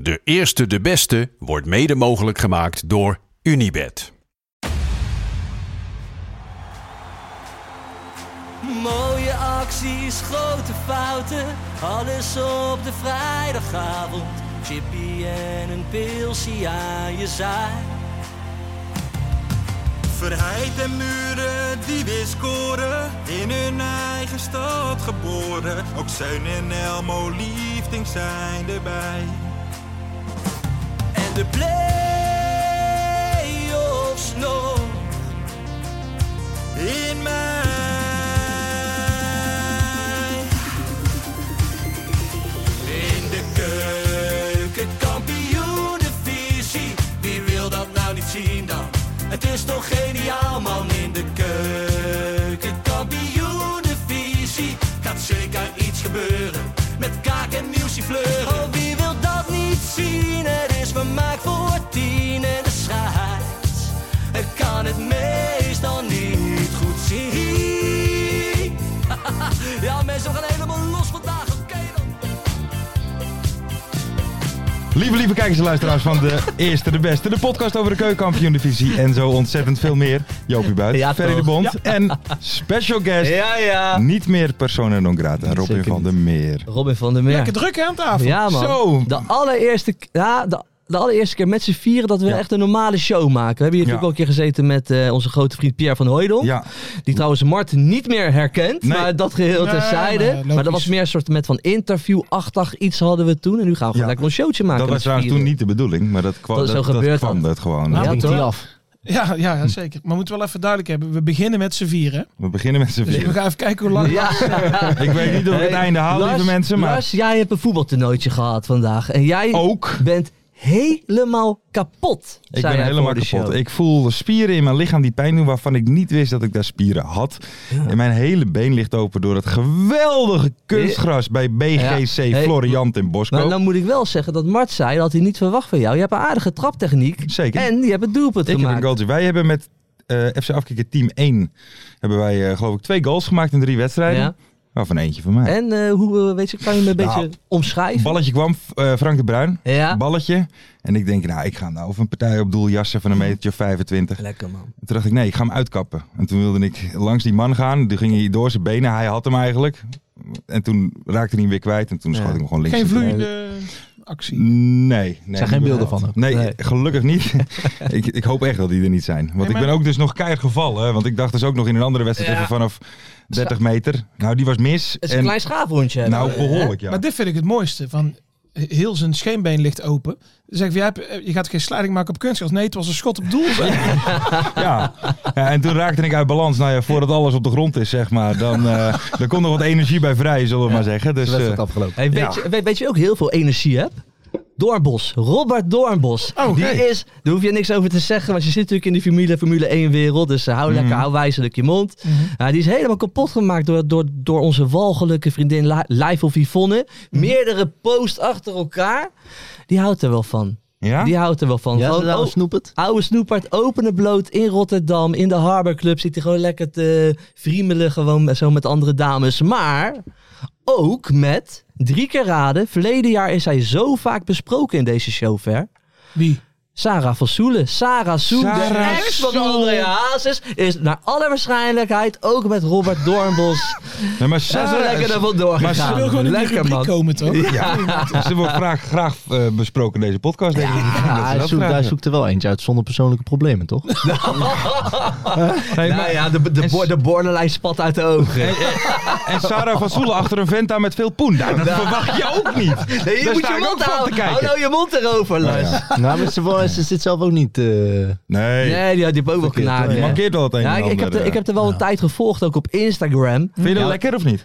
De eerste de beste wordt mede mogelijk gemaakt door Unibed. Mooie acties, grote fouten, alles op de vrijdagavond. Chippy en een pilsie aan je zaai. Verheid en muren die weer scoren, in hun eigen stad geboren. Ook Zeun en Elmo liefding zijn erbij. En de play-offs nog. In mij. In de keuken, kampioenenvisie. Wie wil dat nou niet zien dan? Het is toch geniaal man in de keuken, kampioenenvisie. Gaat zeker iets gebeuren met kaak en muziek fleuren. Oh, wie wil dat niet zien? Het is vermaakt voor tien en de scheids. Ik kan het meestal niet goed zien. ja mensen, we gaan helemaal los vandaag, oké dan. Lieve, lieve kijkers en luisteraars van de Eerste de Beste. De podcast over de keukenkampioen divisie en zo ontzettend veel meer. Joopie Buit, Ja, Ferry de toch. Bond en special guest, Ja, ja. niet meer persona non grata, Robin Zeker van der Meer. Robin van der Meer. Lekker druk hè aan tafel. Ja, man. Zo. De allereerste, k- ja, de, de allereerste keer met z'n vieren dat we echt een normale show maken. We hebben hier Ja. natuurlijk ook een keer gezeten met eh, onze grote vriend Pierre van Hooydonk. Ja, Die trouwens Mart niet meer herkent, Nee. maar dat geheel Nee, terzijde. maar logisch. maar dat was meer een soort met van interviewachtig iets hadden we toen. En nu gaan we gewoon Ja. lekker ons showtje maken. dat was met z'n trouwens toen vieren. niet de bedoeling, maar dat kwam Dat dat, is zo dat gebeurd kwam dan. dat gewoon. Nou, Ja, moet die toch? af. Ja, ja, ja, zeker. Maar we moeten wel even duidelijk hebben. We beginnen met z'n vieren. We beginnen met z'n Dus we vieren. gaan even kijken hoe lang. Ja. Ik weet niet of ik het Hey, einde haal, Lars, lieve mensen, maar Lars, jij hebt een voetbaltoernooitje gehad vandaag. En jij ook. bent helemaal kapot. Ik zei ben jij helemaal voor de kapot. show. Ik voel spieren in mijn lichaam die pijn doen waarvan ik niet wist dat ik daar spieren had. En mijn hele been ligt open door dat geweldige kunstgras bij BGC Ja. Hey, Floriant in Bosco. Maar Nou, dan moet ik wel zeggen dat Mart zei dat hij niet verwacht van jou. Je hebt een aardige traptechniek. Zeker. En je hebt het doelpunt ik heb een gemaakt. goaltje. Wij hebben met eh, FC Afkikken Team 1 hebben wij eh, geloof ik twee goals gemaakt in drie wedstrijden. Ja. Waarvan eentje van mij. En eh, hoe eh, weet je, kan je hem een Nou, beetje omschrijven? Balletje kwam, f- eh, Frank de Bruin. Ja. Balletje. En ik denk, nou, ik ga nou of een partij op doel jassen Mhm. van een metertje of 25. Lekker man. Toen dacht ik, nee, ik ga hem uitkappen. En toen wilde ik langs die man gaan. Toen ging hij door zijn benen. Hij had hem eigenlijk. En toen raakte hij hem weer kwijt. En toen schoot Ja. ik hem gewoon links. Geen in de vloeiende actie. Nee, nee. Zijn geen niet beelden bepaald. van ook? Nee, Nee. gelukkig niet. ik, ik hoop echt dat die er niet zijn. Want maar- ik ben ook dus nog keihard gevallen. hè, Want ik dacht dus ook nog in een andere wedstrijd even vanaf 30 meter. Nou, die was mis. Het is een klein schaafhondje. hebben nou, we, hè? behoorlijk, ja. Maar dit vind ik het mooiste. Van heel zijn scheenbeen ligt open. Dan zeg ik, jij hebt- je gaat geen sliding maken op kunstgras. Nee, het was een schot op doel. Ja. ja. En toen raakte ik uit balans. Nou ja, voordat alles op de grond is, zeg maar. Dan eh er komt nog wat energie bij vrij, zullen we maar zeggen. Dus, eh, afgelopen. Hey, weet, Ja. je, weet, weet je ook heel veel energie hebt? Doornbos, Robert Doornbos. Oh, die hey. is, daar hoef je niks over te zeggen, want je zit natuurlijk in die Formule, Formule 1 wereld. Dus eh, hou lekker, hou wijzelijk je mond. Ja, die is helemaal kapot gemaakt door, door, door onze walgelijke vriendin Li- Live of Yvonne. Meerdere posts achter elkaar. Die houdt er wel van. ja? Die houdt er wel van. Ja, Gewoon, ze nou oh, snoepert. Oude snoepert, opene bloot in Rotterdam, in de Harbor Club. Zit hij gewoon lekker te friemelen, gewoon met- zo met andere dames. Maar ook met, drie keer raden, verleden jaar is hij zo vaak besproken in deze show ver. Wie? Sarah van Soelen. Sarah Soelen, de Sarah ex van Soelen. André Hazes, is naar alle waarschijnlijkheid ook met Robert Doornbos. Nee, maar Ze is Sarah, wel Ah, lekker ze, ervan doorgegaan. Ze wil gewoon in die lekker, rubriek man. komen, toch? ze wordt graag, graag eh, besproken in deze podcast, denk ik. Ik denk dat ze Ja, hij dat zoekt, vragen. hij zoekt er wel eentje uit zonder persoonlijke problemen, toch? Nee, Nou Nou, maar- ja, de, de, En- bo- de borderline spat uit de ogen. En Sarah van Soelen achter een vent aan met veel poen. Nou, dat verwacht je ook niet. Nee, je Daar moet sta je ik ook mond van te houden. kijken. Oh, Hou nou je mond erover, Lars. nou, maar ze, wo- ze zit zelf ook niet... eh, Nee, Nee, die, die heeft ook wel Verkeerd, knagen. die nee. mankeert wel het een Ja, en ik, ik, heb ander, eh. er, ik heb er wel een tijd gevolgd, ook op Instagram. Vind je dat lekker of niet?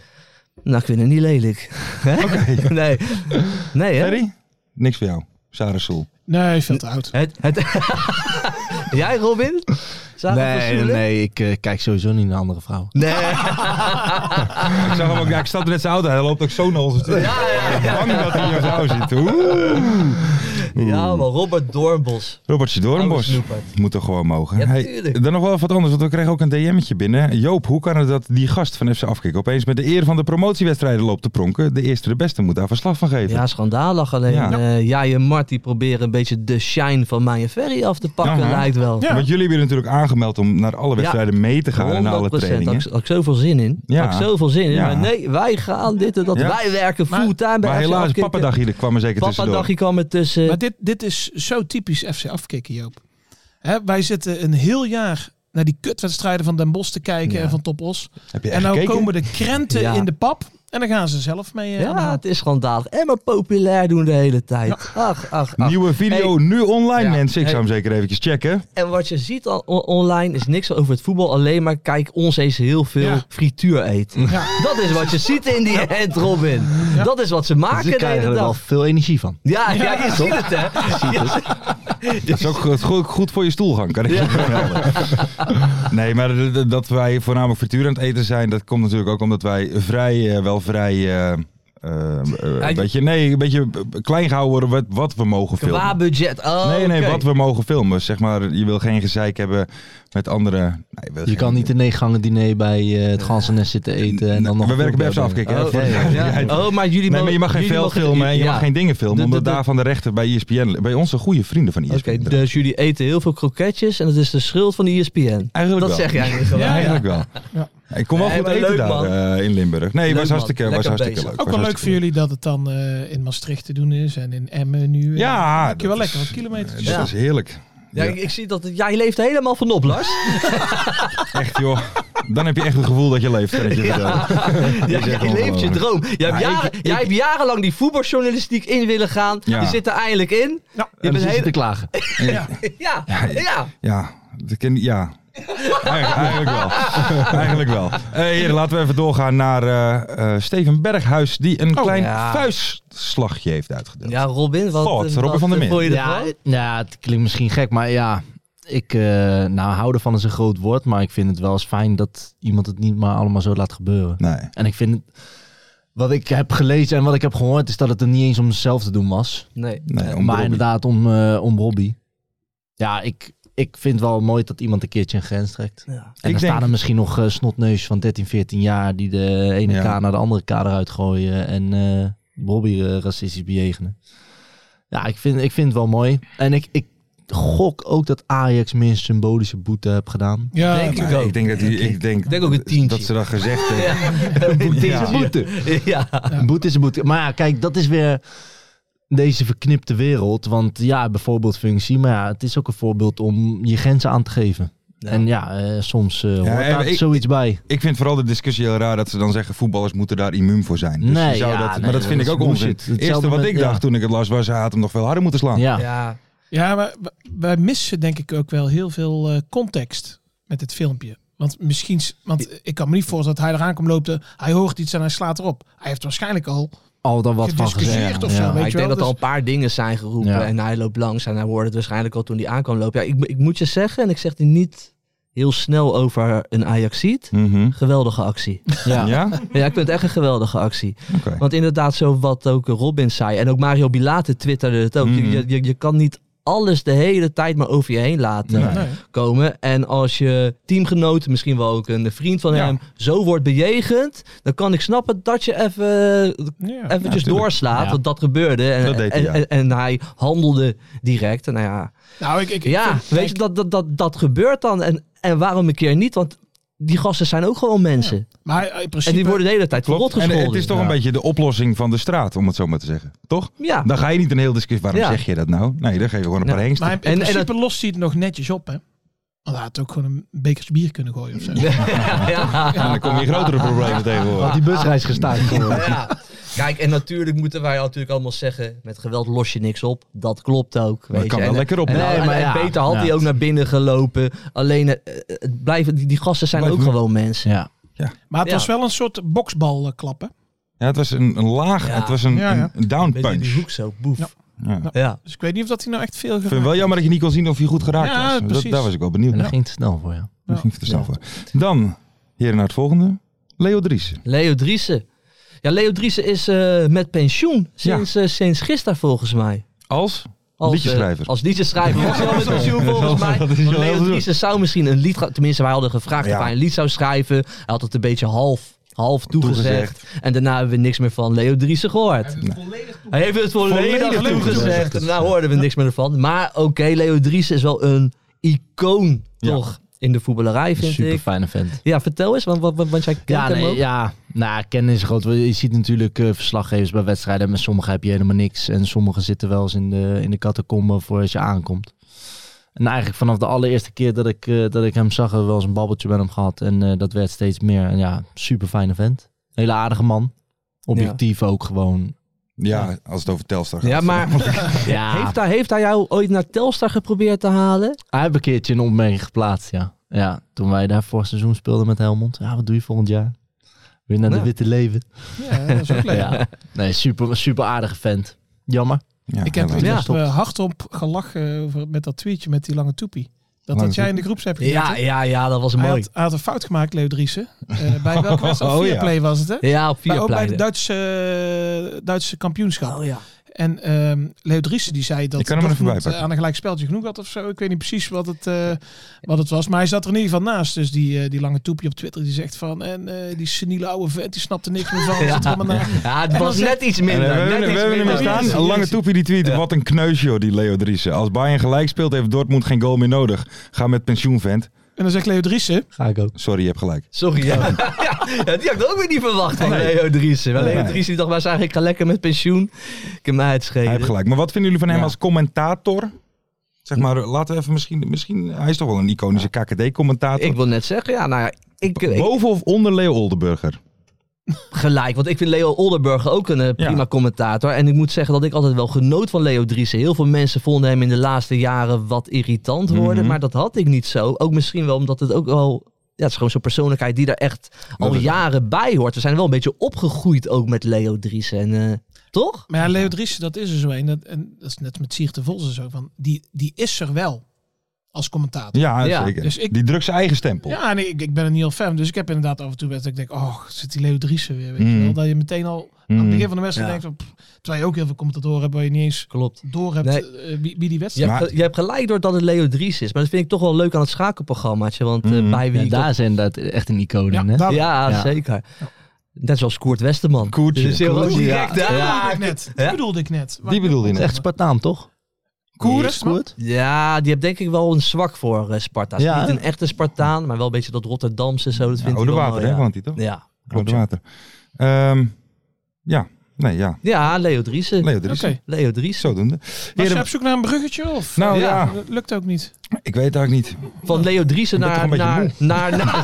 Nou, ik vind het niet lelijk. Hè? Nee. Nee, hè? Ferry? Niks voor jou. Sarah Soel. Nee, veel te oud. Het, het... Jij, Robin? Zagen we nee, nee, verschillen? nee, ik eh, kijk sowieso niet naar andere vrouwen. Nee. Ik zag hem ook, ja, ik stapte net zijn auto, hij loopt ook zo naar ons. toe. Ik ben Bang dat hij jouw vrouw ziet. Oeh. Ja, maar Robert Doornbos. Robertje Oude Doornbos. snoepert. Moet er gewoon mogen. Ja, Hey, tuurlijk. dan nog wel wat anders, want we kregen ook een DM'tje binnen. Joop, hoe kan het dat die gast van FC Afkikken opeens met de eer van de promotiewedstrijden loopt te pronken? De eerste de beste moet daar verslag van geven. Ja, schandalig. Alleen Ja. ja. jij en Mart die proberen een beetje de shine van Maya Ferry af te pakken, Ja, hè? lijkt wel. Ja. Want jullie hebben je natuurlijk aangemeld om naar alle wedstrijden mee te gaan en naar alle 100%. Had trainingen. ik, had ik zoveel zin in. Ja. Had ik zoveel zin in. Ja. Maar nee, wij gaan dit en dat. Ja. Wij werken Maar- fulltime bij Maar FC helaas, Afkikken. papadag hier kwam er zeker tussendoor. Papadagje kwam er tussen. Maar dit, dit is zo typisch FC afkikken, Joop. Hè, wij zitten een heel jaar naar die kutwedstrijden van Den Bosch te kijken en van Topos. Heb je echt En nou gekeken? komen de krenten Ja. in de pap en dan gaan ze zelf mee. eh, aan de ja, haal. het is schandalig. En maar populair doen de hele tijd. Ach, ach, ach. Nieuwe video nu online, Ja. mensen. Ik Hey. zou hem zeker eventjes checken. En wat je ziet al on- online is niks over het voetbal. Alleen maar kijk ons eens heel veel Ja. frituur eten. Ja. Dat is wat je ziet in die hand, Robin. Dat is wat ze Ah, maken Ze de hele krijgen er dag. wel veel energie van. Ja, ja, je ziet het, hè? Dat is ook goed- goed, goed voor je stoelgang, kan ik je vermelden. Nee, maar d- d- dat wij voornamelijk frituur aan het eten zijn, dat komt natuurlijk ook omdat wij vrij, eh, wel vrij... eh, eh, eh, een je- beetje, nee, een beetje eh, klein gehouden worden wat, wat we mogen filmen. Qua budget. Oh, nee, nee, oké. wat we mogen filmen. Zeg maar, je wil geen gezeik hebben met andere... Nee, wil Je geen- kan niet een neeggangen diner bij eh, het Gansenest zitten eten. En dan nog we werken bij FC voetbal Afkikken. hè, Oh, voor de ja. duidelijkheid. Oh, maar jullie Nee, maar je mag geen jullie veld mogen- filmen en je ja. mag geen dingen filmen. De- de- Omdat de- daarvan de rechten bij E ESPN, bij onze goede vrienden van E ESPN. Oké, dus jullie eten heel veel kroketjes en dat is de schuld van de E ESPN. Eigenlijk dat wel. zeg jij nu gewoon. Ja, eigenlijk wel. Ik kon wel Nee, goed maar eten leuk, daar man. eh, in Limburg. Nee, Leuk, was hartstikke, man. was hartstikke Lekker bezig. leuk. Ook Was wel leuk hartstikke voor jullie dat het dan eh, in Maastricht te doen is en in Emmen nu. Ja, Dan maak je wel dat lekker is- wat kilometers. Dus Dat is heerlijk. Ja, Ja. Ik, ik zie dat het- jij leeft helemaal van op, Lars. Echt joh. Dan heb je echt het gevoel dat je leeft. kan ik je vertellen. Ja, echt jij leeft je ongelooflijk. droom. Jij, hebt, Ja, ik- jaren- jij hebt jarenlang die voetbaljournalistiek in willen gaan. Ja. Je zit er eindelijk in. je hebben. bent En ze heel... zitten klagen. Ja, ja. Ja, dat ken- ja. Eigen- Eigenlijk wel. Eigenlijk wel. Eh heren, laten we even doorgaan naar eh, eh, Steven Berghuis, die een Oh. klein ja. vuistslagje heeft uitgedeeld. Ja, Robin, wat, Thought, wat, Robin van der Meer. vond je Ja, ervan? ja, het klinkt misschien gek, maar ja. Ik, eh, nou, houden van is een groot woord, maar ik vind het wel eens fijn dat iemand het niet maar allemaal zo laat gebeuren. Nee. En ik vind het, wat ik heb gelezen en wat ik heb gehoord, is dat het er niet eens om zelf te doen was. Nee. nee maar om Robbie. inderdaad om, eh, om Robbie. Ja, ik, ik vind wel mooi dat iemand een keertje een grens trekt. Ja. En Ik dan denk- staan er misschien nog eh, snotneus van 13, 14 jaar die de ene Ja. K naar de andere K eruit gooien en eh Bobby eh, racistisch bejegenen. Ja, ik vind, ik vind het wel mooi. En ik, ik gok ook dat Ajax meer een symbolische boete heb gedaan. Ja, Denk maar- ik ook. Ik denk dat die, ik denk, Ik denk ook een tientje. dat ze dat gezegd hebben. Ja. Boete. Ja. Ja. Een boete is een boete. Maar ja, kijk, dat is weer deze verknipte wereld. Want ja, bijvoorbeeld functie. Maar ja, het is ook een voorbeeld om je grenzen aan te geven. En ja, eh, soms eh hoort en daar ik- zoiets bij. Ik vind vooral de discussie heel raar dat ze dan zeggen voetballers moeten daar immuun voor zijn. Dus je Nee, zou ja, dat, nee, maar dat vind dat ik is ook onzin. bullshit. Het eerste Hetzelfde wat met- ik ja. dacht toen ik het las was, ze had hem nog veel harder moeten slaan. Ja. Ja. Ja, maar w- wij missen denk ik ook wel heel veel eh, context met dit filmpje. Want misschien, s- want ik kan me niet voorstellen dat hij eraan komt lopen. Hij hoort iets en hij slaat erop. Hij heeft waarschijnlijk al Al dan wat van gezegd. gediscussieerd of zo. Ja. Weet Maar je ik denk wel? dus- dat er al een paar dingen zijn geroepen Ja. en hij loopt langs en hij hoorde het waarschijnlijk al toen hij aankwam lopen. Ja, ik, mo- ik moet je zeggen, en ik zeg die niet heel snel over een Ajaxiet. Mhm. Geweldige actie. Ja. Ja? Ja, ik vind het echt een geweldige actie. Oké. Mm. Want inderdaad, zo wat ook Robin zei en ook Mario Bilate twitterde het ook. Je- Mhm. Je, je, je kan niet alles de hele tijd maar over je heen laten Nee. Nee. komen. En als je teamgenoot, misschien wel ook een vriend van Ja. hem, zo wordt bejegend, dan kan ik snappen dat je even Ja. eventjes tuurlijk. doorslaat. Ja. Want dat gebeurde. En, Dat deed hij, ja. en, en, en hij handelde direct. En nou ja, Nou, ik, ik, ik ja vind- weet je, dat, dat, dat, dat gebeurt dan. En, en waarom een keer niet? Want die gasten zijn ook gewoon mensen. Maar in principe... En die worden de hele tijd verrot Klopt. En gescholden. het is toch een beetje de oplossing van de straat, om het zo maar te zeggen. Toch? Ja. Dan ga je niet een heel discussie. Waarom Ah. Ja. zeg je dat nou? Nee, dan geef je gewoon een Ja. paar hengsten. Maar in, in En- en principe dat- lost hij het nog netjes op, hè? Want hij had ook gewoon een bekertje bier kunnen gooien of zo. ja, En dan kom je grotere problemen tegenwoordig. Want die busreis gestaakt geworden. Ja. Kijk, en natuurlijk moeten wij natuurlijk allemaal zeggen... met geweld los je niks op. Dat klopt ook. Weet Dat kan je. wel En- lekker op. Nou, En, Nee, en- maar en ja. beter had Ja. hij ook naar binnen gelopen. Alleen, eh, eh, het blijven, die, die gasten zijn Blijven ook doen. gewoon mensen. Ja. Maar het Ja. was wel een soort boksbalklappen. Ja, het was een, een laag, Ja. het was een, Ja, ja. een down Met die- die punch. hoek zo, boef. Ja. Ja. Ik Ja. Dus ik weet niet of dat hij nou echt veel vind het geraakt wel jammer dat je niet kon zien of hij goed geraakt Ja, was. Dat, precies. daar was ik wel benieuwd En dat naar. ging te snel voor jou. Dat ging te snel voor. Dan, heren, naar het volgende. Leo Driessen. Leo Driessen. Ja, Leo Driessen is eh, met pensioen sinds, eh, sinds gisteren volgens mij. Als? Als, Liedjeschrijver. eh, als liedjeschrijver was hij al met pensioen volgens mij. Dat is Want wel heel Leo goed. Driessen zou misschien een lied... gaan- Tenminste, wij hadden gevraagd Ja. of hij een lied zou schrijven. Hij had het een beetje half, half toegezegd. Toegezegd. En daarna hebben we niks meer van Leo Driessen gehoord. Hij heeft het volledig Volledig toegezegd. toegezegd. En daarna hoorden we niks meer ervan. Maar oké, Leo Driessen is wel een icoon Ja. toch in de voetballerij, vind Super ik. fijne vent. Ja, vertel eens, want, want, want, want jij kent Ja, hem nee, ook. ja, nou, kennis is groot. Je ziet natuurlijk eh, verslaggevers bij wedstrijden. Met sommigen heb je helemaal niks. En sommigen zitten wel eens in de, in de catacombe voor als je aankomt. En eigenlijk vanaf de allereerste keer dat ik, eh, dat ik hem zag, hebben we wel eens een babbeltje met hem gehad. En eh, dat werd steeds meer. En ja, super fijne vent. Hele aardige man. Objectief ook gewoon. Ja, als het over Telstar gaat. Ja, maar Ja, heeft, hij, heeft hij jou ooit naar Telstar geprobeerd te halen? Hij heeft een keertje een opmerking geplaatst, ja. Ja, toen wij daar vorig seizoen speelden met Helmond. Ja, wat doe je volgend jaar? Weer naar Ja. de witte leven. Ja, dat is ook leuk. Ja. Nee, super, super aardige vent. Jammer. Ja, Ik heb heel er leuk. Ja. eh, hardop gelachen over, met dat tweetje met die lange toepie. Dat Lange had jij in toepie. de groeps hebt gezet, Ja, hè? ja, ja, dat was Hij mooi. had, hij had een fout gemaakt, Leo Driessen. Eh, bij welke wedstrijd? Oh, ja. Viaplay was het, hè? Ja, op Maar vier ook bij de pleiten. Duitse, eh, Duitse kampioenschap. Oh ja. En ehm, Leo Driessen die zei dat Ik kan hem er even Dortmund, bijpakken. eh, aan een gelijk speltje genoeg had of zo. Ik weet niet precies wat het, eh, wat het was. Maar hij zat er in ieder geval naast. Dus die, eh, die lange toepie op Twitter die zegt van... En eh, die seniele oude vet, die snapte niks meer van. Zit er allemaal na. Ja, het En was dan net iets En we minder. hebben, net we iets hebben hem minder. hier staan. Een lange toepie die tweet. Wat een kneusje hoor, die Leo Driessen. Als Bayern gelijk speelt, heeft Dortmund geen goal meer nodig. Ga met pensioen, vent. En dan zegt Leo Driessen... Ga ik ook. Sorry, je hebt gelijk. Sorry, ja. ja, ja, die had ik ook weer niet verwacht van Leo Driessen. Maar Leo Nee. Driessen die dacht, waar is eigenlijk, ik ga lekker met pensioen. Ik heb mij het Hij heeft schelen. gelijk. Maar wat vinden jullie van hem Ja. als commentator? Zeg maar, laten we even misschien, misschien... Hij is toch wel een iconische KKD-commentator. Ik wil net zeggen, ja, nou ja, ik, ik Boven of onder Leo Oldenburger? gelijk. Want ik vind Leo Oldenburg ook een eh, prima Ja. commentator. En ik moet zeggen dat ik altijd wel genoot van Leo Driessen. Heel veel mensen vonden hem in de laatste jaren wat irritant worden. Mhm. Maar dat had ik niet zo. Ook misschien wel omdat het ook wel... Ja, het is gewoon zo'n persoonlijkheid die er echt al Dat is- jaren bij hoort. We zijn wel een beetje opgegroeid ook met Leo Driessen. En, eh, toch? Maar ja, Leo Driessen, dat is er zo een. Dat, en dat is net met Sierte Vos en zo. Van, die, die is er wel als commentator. Ja, Ja. zeker. Dus ik- Die drukt zijn eigen stempel. Ja, en ik, ik ben een heel fan. Dus ik heb inderdaad af en toe best dat ik denk... Oh, zit die Leo Driessen weer. Weet je Mm. wel? Dat je meteen al aan het Mm. begin van de wedstrijd Ja. denkt... van, pff, terwijl je ook heel veel commentatoren hebt waar je niet eens Klopt. door hebt Nee. eh, wie, wie die Je, wedstrijd... Maar- hebt, ge- je hebt gelijk door dat het Leo Dries is. Maar dat vind ik toch wel leuk aan het schakelprogrammaatje. Want eh, Mhm. bij wie... Ja, daar zijn dat echt een icoon in, hè? daar- ja, Ja. zeker. Net zoals Koert Westerman. Koertje. Dus heel Koertje, direct, ja. hè? Oh, Die Ja. bedoelde ik net. Ja. Die bedoelde ik net. Die bedoelde je Het is net. echt Spartaan, toch? Koers, Koert? Ja, die heeft denk ik wel een zwak voor eh, Sparta. Is Ja. Niet een echte Spartaan, maar wel een beetje dat Rotterdamse zo. Dat Ja, vindt Nou, Oude hij wel Water, mooi, hè, ja. woont hij toch? Ja, Oude klopt. Ja, Water. Ehm, ja, nee, ja. Ja, Leo Driessen. Leo Driessen. Oké. Leo Driessen. Zodoende. Was je Heren- op zoek naar een bruggetje of? Nou Ja. ja. Dat lukt ook niet. ik weet het eigenlijk niet. Van Leo Driessen Ik ben naar... toch een naar, beetje naar, naar-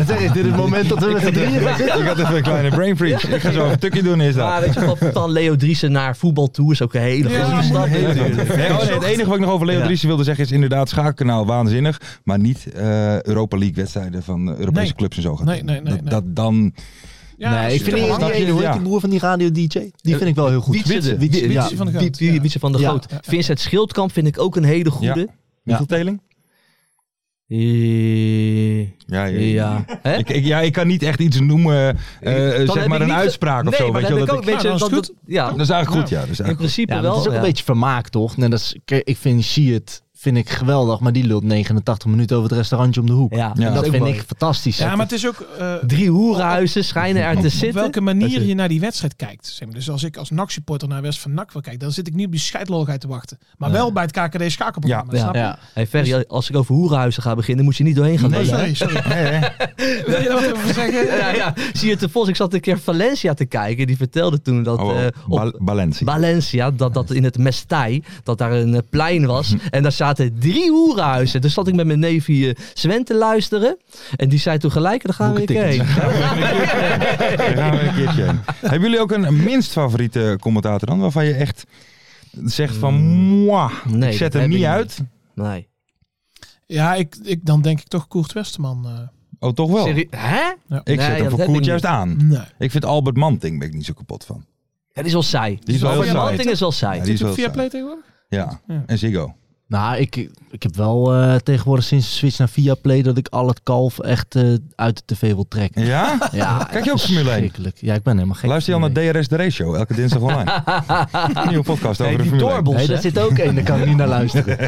is dit het moment dat we met z'n drieën gaan Ik had even een kleine brain freeze. Ik ga zo even een tukje doen is maar dat. weet je wat? Van Leo Driessen naar voetbal toe is ook een hele Ja, grote stap. Heel natuurlijk. goed. Nee, oh nee, het enige wat ik nog over Leo Ja. Driessen wilde zeggen is inderdaad schakelkanaal waanzinnig, maar niet eh, Europa League wedstrijden van eh, Europese Nee. clubs en zo gaat. Nee, nee, nee, dat, nee. dat dan Ja, Nee, ik vind Ja. die, die Snap je? ene, hoe heet Ja. die broer van die radio-dj? Die vind ik wel heel goed. Wietse. Wietse, ja. Wietse van de Die, Groot. die, Ja. Wietse van de Ja. Groot. Vincent Schildkamp vind ik ook een hele goede. Michiel Teling. Ja, ja. Ja. Hè? Ik, ik- ja, ik kan niet echt iets noemen, eh, eh, Dan zeg heb maar ik een niet- uitspraak of nee, zo. maar Weet je, Nou, dan wel, heb ik dat, ik- ook een beetje... Ja, dat is dat- Ja, dat is eigenlijk goed, ja. Dat is in eigenlijk principe Ja, maar wel. het is ook ja. een beetje vermaak, toch? Net als, kijk, ik vind Siert vind ik geweldig, maar die lult 89 minuten over het restaurantje om de hoek. Ja, En dat dat is ook vind mooi. ik fantastisch. Ja, maar het is ook eh, Drie hoerenhuizen schijnen er te op zitten. welke manier je naar die wedstrijd kijkt. Zeg maar. Dus als ik als NAC-supporter naar West van NAC wil kijken, dan zit ik niet op die scheidlolligheid te wachten. Maar wel bij het KKD-schakelprogramma, Ja. snap je? ja. Hey Ferry, als ik over hoerenhuizen ga beginnen, moet je niet doorheen gaan. Nee, lezen, hè? sorry, sorry. goed. Nee, hè? Wil je dat even zeggen? Ja, ja. Zie je te Vos, ik zat een keer Valencia te kijken. Die vertelde toen dat Oh, eh, op Bal- Balenci. Valencia, dat, dat in het Mestij, dat daar een eh, plein was. En daar zaten drie hoerenhuizen. Dus zat ik met mijn neef hier Sven te luisteren. En die zei toen gelijk, daar gaan we Boek weer een heen. Daar gaan we nou, een keertje heen. Hebben jullie ook een minst favoriete commentator dan? Waarvan je echt zegt van, mwah, Nee, ik zet dat er heb niet ik uit. Nee. Ja, ik, ik, dan denk ik toch Koert Westerman. eh. Oh, toch wel? Serie- Hè? Ik zet Nee, dat hem voor heb Koert ik juist niet. aan. nee. Ik vind Albert Manting ben ik niet zo kapot van. Dat is wel saai. Die is wel Albert heel saai. Manting is wel saai. Ja, Is die het is wel ook via saai. Play tegenwoordig? Ja, Ja. en Ziggo. Nou, ik, ik heb wel eh, tegenwoordig sinds de switch naar Viaplay dat ik al het kalf echt eh, uit de tv wil trekken. Ja? Ja, Kijk je ook Formule 1? verschrikkelijk. Ja, ik ben helemaal gek. Luister je al naar DRS De Race Show elke dinsdag online? Een nieuwe podcast over de die Formule 1. doorbel- Nee, daar hè? zit ook één, daar kan ik niet naar luisteren.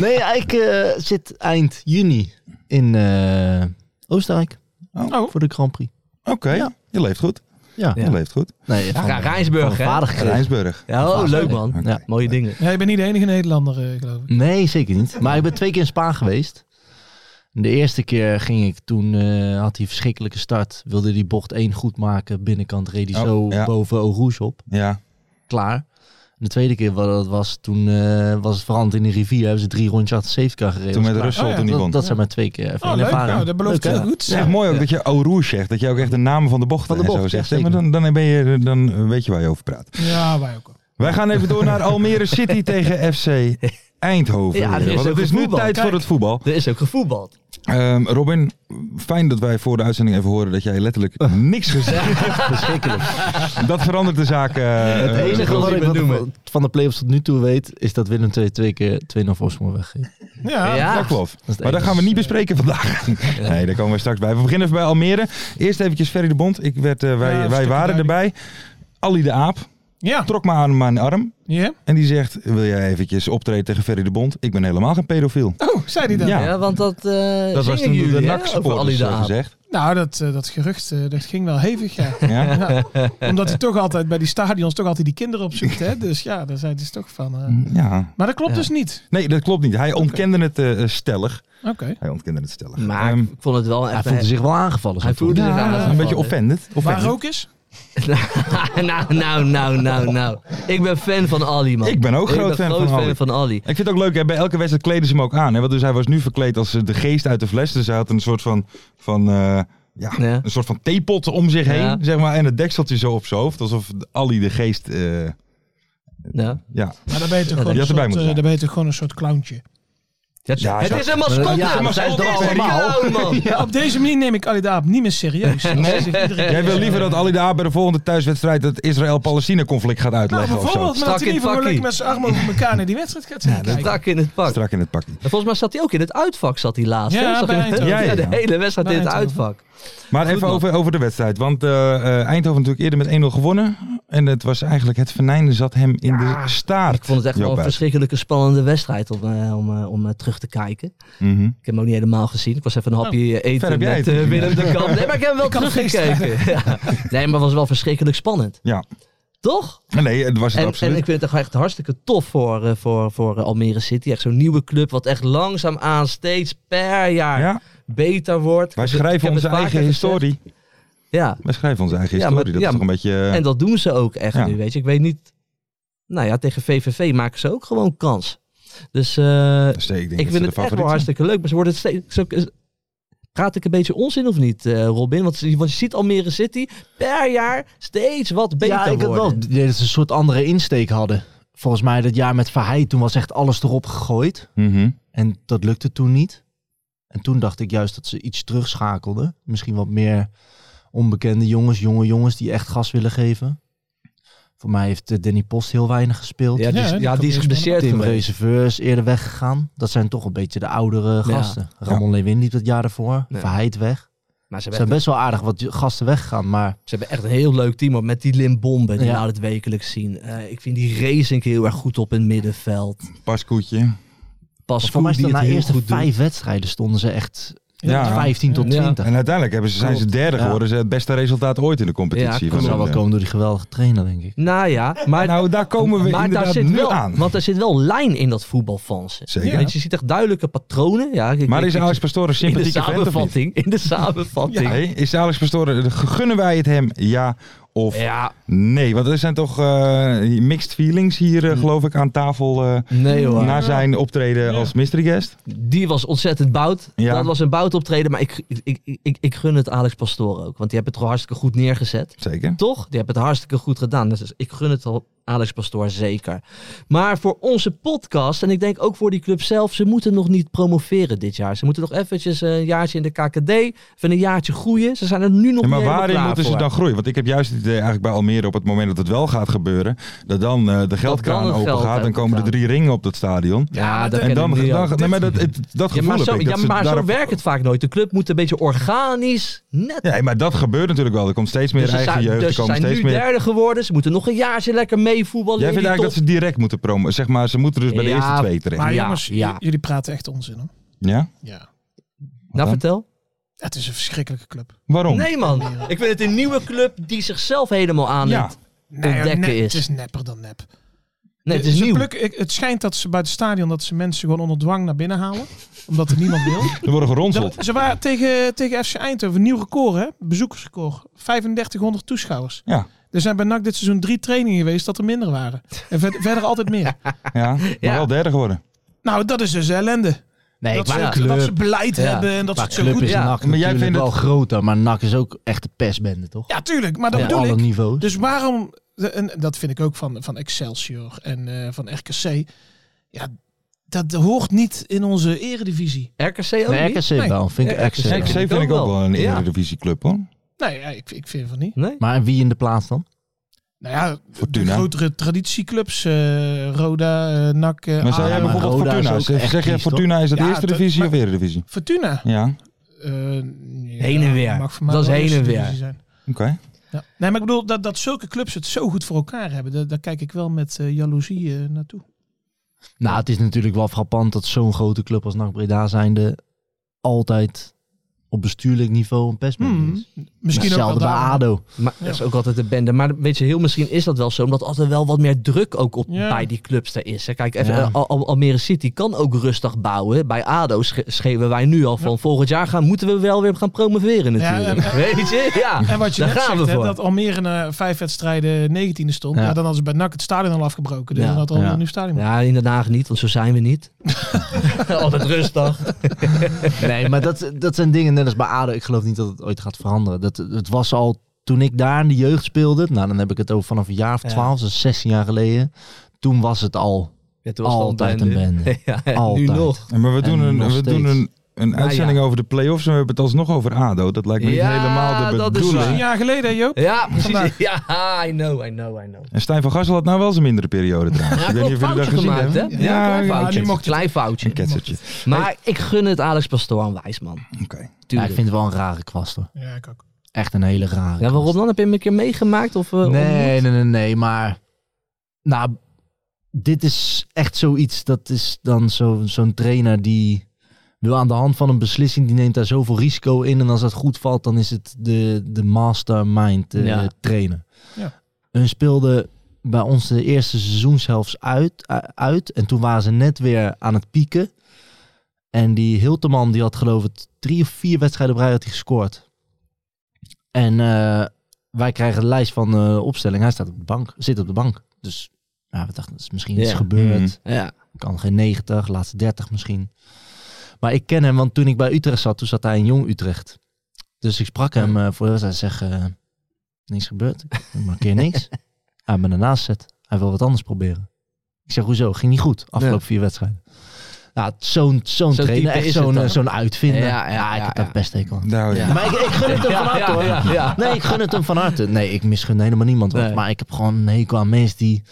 nee, ik eh, zit eind juni in eh, Oostenrijk Oh. voor de Grand Prix. Oké, Ja. je leeft goed. Ja, Je leeft goed. nee, van, Ja, Rijnsburg, van hè? vader gekregen. Rijnsburg. Ja, oh, leuk man. Ja. Mooie dingen. Ja, je bent niet de enige Nederlander, eh, geloof ik. Nee, zeker niet. Maar ik ben twee keer in Spaan geweest. De eerste keer ging ik toen, eh, had hij een verschrikkelijke start. Wilde die bocht één goed maken. Binnenkant reed hij Oh, zo ja. boven Eau Rouge op. Ja. Klaar. En de tweede keer wat dat was, toen eh, was het veranderd in de rivier. Hebben ze drie rondjes achter de safecar gereden. Toen Was met klaar. Russell Oh ja, toen die won. dat, dat zijn maar twee keer. Even Oh, een leuk. ervaring. Nou, dat belooft Leuk, heel hè? goed. Het is echt mooi ook dat je Eau Rouge zegt. Dat je ook echt de namen van de bochten Van de en bocht, zo ja, zegt. hè, zeker. maar dan, dan, ben je, dan weet je waar je over praat. Ja, wij ook. Wij gaan even door naar Almere City tegen FC Eindhoven. Ja, er is Want ook het is nu voetbal. tijd Kijk. voor het voetbal. Er is ook gevoetbald. Ehm, Robin, fijn dat wij voor de uitzending even horen dat jij letterlijk Oh. niks gezegd hebt. Dat verandert de zaak. eh, Het eh, enige groot. wat ik wat- van de playoffs tot nu toe weet, is dat Willem II twee keer 2-0 voorsprong weggeeft. Ja, Ja. Dat klopt. het maar dat enige. gaan we niet bespreken vandaag. Nee, daar komen we straks bij. We beginnen even bij Almere. Eerst eventjes Ferry de Bond. Ik werd, eh, wij Ja, wij stukken waren erbij. Ali de Aap ja. trok me aan mijn arm. ja. En die zegt, wil jij eventjes optreden tegen Ferry de Bond? Ik ben helemaal geen pedofiel. Oh, zei hij dat? Ja. Ja, want dat. eh, Dat was zingen toen de jullie, hè, NAC over Ali supporters de eh, Aap. gezegd. Nou, dat, eh, dat gerucht eh, dat ging wel hevig, ja. Ja? Ja. Omdat hij toch altijd bij die stadions toch altijd die kinderen opzoekt, hè. Dus ja, daar zijn ze toch van... eh. ja. Maar dat klopt Ja. dus niet. Nee, dat klopt niet. Hij ontkende het eh, eh, stellig. Oké. Hij ontkende het stellig. Maar Ehm, ik vond het wel Hij echt. voelde zich wel aangevallen. zo Hij voelde toch? zich ja, aangevallen. een beetje offended. Waar Offended. ook is? nou, nou, nou, nou, nou. Ik ben fan van Ali, man. Ik ben ook groot fan groot van Ali. fan van Ali. Ik vind het ook leuk, hè? bij elke wedstrijd kleden ze hem ook aan. Hè? Want dus hij was nu verkleed als eh, de geest uit de fles. Dus hij had een soort van, van, eh, ja, Ja. een soort van theepot om zich heen. Ja. Zeg maar, en het dekseltje zo op zijn hoofd. Alsof Ali de geest... eh, Ja. ja. Maar dan ben je Je toch gewoon, een had erbij soort, moeten eh, dan ben je toch gewoon een soort clowntje. Het, Ja, het zo- is een mascotte. Ja, maar zij is dat toch is allemaal? clown, man. Ja, op deze manier neem ik Ali Daab niet meer serieus. Als hij zich iedere keer- Jij wil eh, liever dat Ali de Aap bij de volgende thuiswedstrijd... het Israël-Palestina-conflict gaat Nou, uitleggen of zo. bijvoorbeeld, maar Strak dat hij in in ieder geval het lekker met zijn armen over elkaar naar die wedstrijd gaat zitten kijken. Strak in het pak. Strak in het pakje. En Volgens mij zat hij ook in het uitvak, zat hij laatst. Ja, hè? Zag bij je dat? Eindhoven. Ja, ja, de ja. hele wedstrijd Bij in het Eindhoven. uitvak. Maar even man. over, over de wedstrijd. Want eh, eh, Eindhoven natuurlijk eerder met 1-0 gewonnen. En het was eigenlijk het venijnen zat hem in de staart. Ik vond het echt wel Joop een Buijs. verschrikkelijke spannende wedstrijd om, eh, om, eh, om eh, terug te kijken. Mhm. Ik heb hem ook niet helemaal gezien. Ik was even een hapje eh, Nou, ver heb eten jij met het eh, gezien, Willem de Kamp. Nee, maar ik heb hem wel teruggekeken. Ja. Nee, maar het was wel verschrikkelijk spannend. Ja. Toch? Nee, het was het En, absoluut. en ik vind het toch echt hartstikke tof voor, eh, voor, voor eh, Almere City. Echt zo'n nieuwe club wat echt langzaamaan steeds per jaar ja, beter wordt. wij Ik heb schrijven het onze vaker eigen gezegd. historie. Ja, Wij schrijven onze eigen Ja, historie. maar- dat ja, is toch een beetje... eh, en dat doen ze ook echt Ja. nu, weet je. Ik weet niet... Nou ja, tegen VVV maken ze ook gewoon kans. Dus eh, dus ik, denk dat ze ik vind de het echt favoriet wel zijn. hartstikke leuk. Maar ze worden het steeds... zo- is- Praat ik een beetje onzin of niet, eh, Robin? Want, je- want je ziet Almere City per jaar steeds wat beter ja, ik had wel worden. het idee dat ze een soort andere insteek hadden. Volgens mij dat jaar met Verheid, toen was echt alles erop gegooid. Mhm. En dat lukte toen niet. En toen dacht ik juist dat ze iets terugschakelden. Misschien wat meer onbekende jongens, jonge jongens die echt gas willen geven. Voor mij heeft eh, Danny Post heel weinig gespeeld. Ja, die, Ja, is- hè, ja, dat die is kan ik niet geblesseerd Tim geweest. Reserveurs eerder weggegaan. Dat zijn toch een beetje de oudere Ja. gasten. Ramon Lewin liep dat jaar daarvoor. Ja. Verheid weg. Maar ze hebben, Er zijn echt, best wel aardig wat gasten weggegaan. Maar ze hebben echt een heel leuk team op met die Limbombe die Ja. nou het wekelijks zien. Eh, ik vind die Racing heel erg goed op in het middenveld. Paskoetje. Pas voor mij is die dat het na heel eerste goed doet. vijf wedstrijden stonden ze echt Ja. Ah. 15 tot Ja. 20. En uiteindelijk hebben ze, zijn ze Klopt. derde Ja. geworden. Ze het beste resultaat ooit in de Ja, competitie. klopt. Dat van zou wel de- komen door die geweldige trainer, denk ik. Nou ja, maar, Nou, daar komen we maar daar inderdaad zit nu wel, aan. Want er zit wel lijn in dat voetbal van ze. Zeker. Weet je, je ziet echt duidelijke patronen. Ja, ik- Maar ik- is ik- Alex Pastoor een in de sympathieke vent of niet? samenvatting. In de samenvatting. Hey, is Alex Pastoor, gunnen wij het hem ja of Ja, nee? Want er zijn toch eh, mixed feelings hier, Mm. eh, geloof ik, aan tafel eh, nee hoor. na zijn optreden als mystery guest. Die was ontzettend bout. Ja. Dat was een bout optreden. Maar ik, ik, ik, ik, ik gun het Alex Pastoor ook. Want die hebben het gewoon hartstikke goed neergezet. Zeker. Toch? Die hebben het hartstikke goed gedaan. Dus ik gun het al Alex Pastoor zeker. Maar voor onze podcast, en ik denk ook voor die club zelf, ze moeten nog niet promoveren dit jaar. Ze moeten nog eventjes een jaartje in de KKD, even een jaartje groeien. Ze zijn er nu nog Ja, maar niet helemaal waarin klaar moeten ze voor. dan groeien? Want ik heb juist het idee eigenlijk bij Almere op het moment dat het wel gaat gebeuren, dat dan eh, de geldkraan dan het open geld gaat, dan komen er opengaat. drie ringen op dat stadion. Ja, Ja, maar dat de- En dan, ken ik niet, dan, ja. nee, maar dat, het, dat Ja, gevoel maar zo, heb ik. ja, dat ze maar zo daarop- werkt het vaak nooit. De club moet een beetje organisch net Ja, maar dat gebeurt natuurlijk wel. Er komt steeds meer Dus ze eigen zijn, jeugd. dus er ze komen zijn steeds nu meer. derde geworden. Ze moeten nog een jaartje lekker meevoetballen. Jij in vindt die eigenlijk dat ze direct moeten promoten. Zeg maar, ze moeten dus bij de Ja, eerste twee terecht. Maar Ja, jongens, j- ja. jullie praten echt onzin hoor. Ja? Ja. top. Nou, dan? vertel. Het is een verschrikkelijke club. Waarom? Nee, man. Ik vind het een nieuwe club die zichzelf helemaal aan Ja. het ontdekken nep- is. Het is nepper dan nep. Nee, het is Ze nieuw. plukken- ik- het schijnt dat ze bij het stadion dat ze mensen gewoon onder dwang naar binnen halen. Omdat er niemand wil. Er worden geronseld. Dat- ze waren tegen, tegen FC Eindhoven een nieuw record, hè? Bezoekersrecord. 3500 toeschouwers. Ja. Er zijn bij NAC dit seizoen drie trainingen geweest dat er minder waren. En ver- verder altijd meer. Ja, maar Ja. wel derde geworden. Nou, dat is dus ellende. Nee, dat, maar ze, club, dat ze beleid Ja. hebben en dat ze maar het zo club goed is Ja. NAC Maar jij natuurlijk vindt wel het- groter. Maar NAC is ook echt de pestbende, toch? Ja, tuurlijk. Maar dat Op bedoel alle ik. niveaus. Dus waarom, en dat vind ik ook van, van Excelsior en eh, van RKC. Ja, dat hoort niet in onze eredivisie. RKC ook nee, niet? RKC wel. Vind ik Nee, RKC wel. RKC vind ik ook wel een Eredivisieclub hoor. Nee, ja, ik, ik vind van niet. Nee? Maar wie in de plaats dan? Nou ja, de Fortuna. grotere traditieclubs, eh, Roda, eh, NAC, eh, Maar zou jij Ah, ADO. maar bijvoorbeeld Roda is Fortuna? ook Zeg echt zeg jij triest, hoor. Fortuna is dat Ja, eerste dat- divisie of maar- Eredivisie? Fortuna. Ja, Eh, ja, Heen en weer. mag voor mij Dat is wel heen en eerste weer. divisie zijn. oké. Ja. Nee, maar ik bedoel dat, dat zulke clubs het zo goed voor elkaar hebben. Daar, daar kijk ik wel met eh, jaloezie eh, naartoe. Nou, het is natuurlijk wel frappant dat zo'n grote club als NAC Breda zijnde altijd op bestuurlijk niveau een pestbende Hmm. is. Misschien Hetzelfde ook bij wel daarom. ADO. Maar dat is ook altijd een bende. Maar weet je, heel misschien is dat wel zo. Omdat altijd wel wat meer druk ook op, Ja. bij die clubs daar is. hè. Kijk, even, Ja. eh, Al- Al- Almere City kan ook rustig bouwen. Bij ADO sche- schreven wij nu al van volgend jaar gaan, moeten we wel weer gaan promoveren natuurlijk. en- weet je? Ja, En wat je daar net gaan zegt, we hè, voor. dat Almere na vijf wedstrijden 19e stond. Ja. Ja. dan hadden ze bij NAC het stadion al afgebroken. Dus Ja, dan had Almere ja. nu het stadion. Ja, in Den Haag niet, want zo zijn we niet. Altijd rustig. Nee, maar dat, dat zijn dingen net als bij ADO. Ik geloof niet dat het ooit gaat veranderen. Dat, het was al toen ik daar in de jeugd speelde. Nou, dan heb ik het over vanaf een jaar of Ja. twaalf, dus 16 jaar geleden. Toen was het al. Het Altijd een bende. ja, en Altijd. nu nog. En Maar we doen En een, nog we doen steeds. een, een uitzending over de play-offs en we hebben het alsnog over ADO. Dat lijkt me niet Ja, helemaal de dat is bedoeling. Een waar. jaar geleden, hè, Joop. Ja, precies. Vandaag. Ja, I know, I know, I know. En Stijn van Gassel had nou wel zijn mindere periode trouwens. Ja, ik weet niet of jullie dat gezien gemaakt, hè? hebben. Ja, klein ja, foutje. die mocht klein foutje. een ketsertje. Maar ik gun het Alex Pastoor aan Wijsman. Oké. Ja, Tuurlijk. ik vind het wel een rare kwast hoor. Ja, ik ook. Echt een hele rare. Ja, waarom dan? Heb je hem een keer meegemaakt? Of, eh, kwast. ontmoet? Nee, nee, nee, nee. Maar. Nou, dit is echt zoiets. Dat is dan zo- zo'n trainer die. Wil aan de hand van een beslissing, die neemt daar zoveel risico in. En als dat goed valt, dan is het de, de mastermind eh, Ja. trainer. Ja. Hun speelde bij ons de eerste seizoenshelft uit, u- uit. En toen waren ze net weer aan het pieken. En die Hilteman, die had geloof ik drie of vier wedstrijden op rij had hij gescoord. En eh, wij krijgen de lijst van eh, opstelling. Hij staat op de bank, zit op de bank. Dus ja, we dachten, er is misschien iets Ja. Mm. gebeurd. Mhm. Ja. Kan geen 90, laatste 30 misschien. Maar ik ken hem, want toen ik bij Utrecht zat, toen zat hij in Jong Utrecht. Dus ik sprak hem eh, voor de wedstrijd en zeg, eh, niks gebeurd. Ik markeer niks. hij me ernaast zet. Hij wil wat anders proberen. Ik zeg, hoezo? Ging niet goed, afgelopen vier wedstrijden. Ja, zo'n zo'n Zo'n trainer, type echt is het zo'n dan. eh, zo'n uitvinder. Ja, Ja, ja, Ah, ik ja, heb ja. daar best tegen. aan. Nou, ja. Maar ik, ik gun het hem van harte hoor. ja, ja. Nee, ik gun het hem van harte. Nee, ik misgun helemaal niemand. wat. Nee. Maar ik heb gewoon een hekel aan mensen die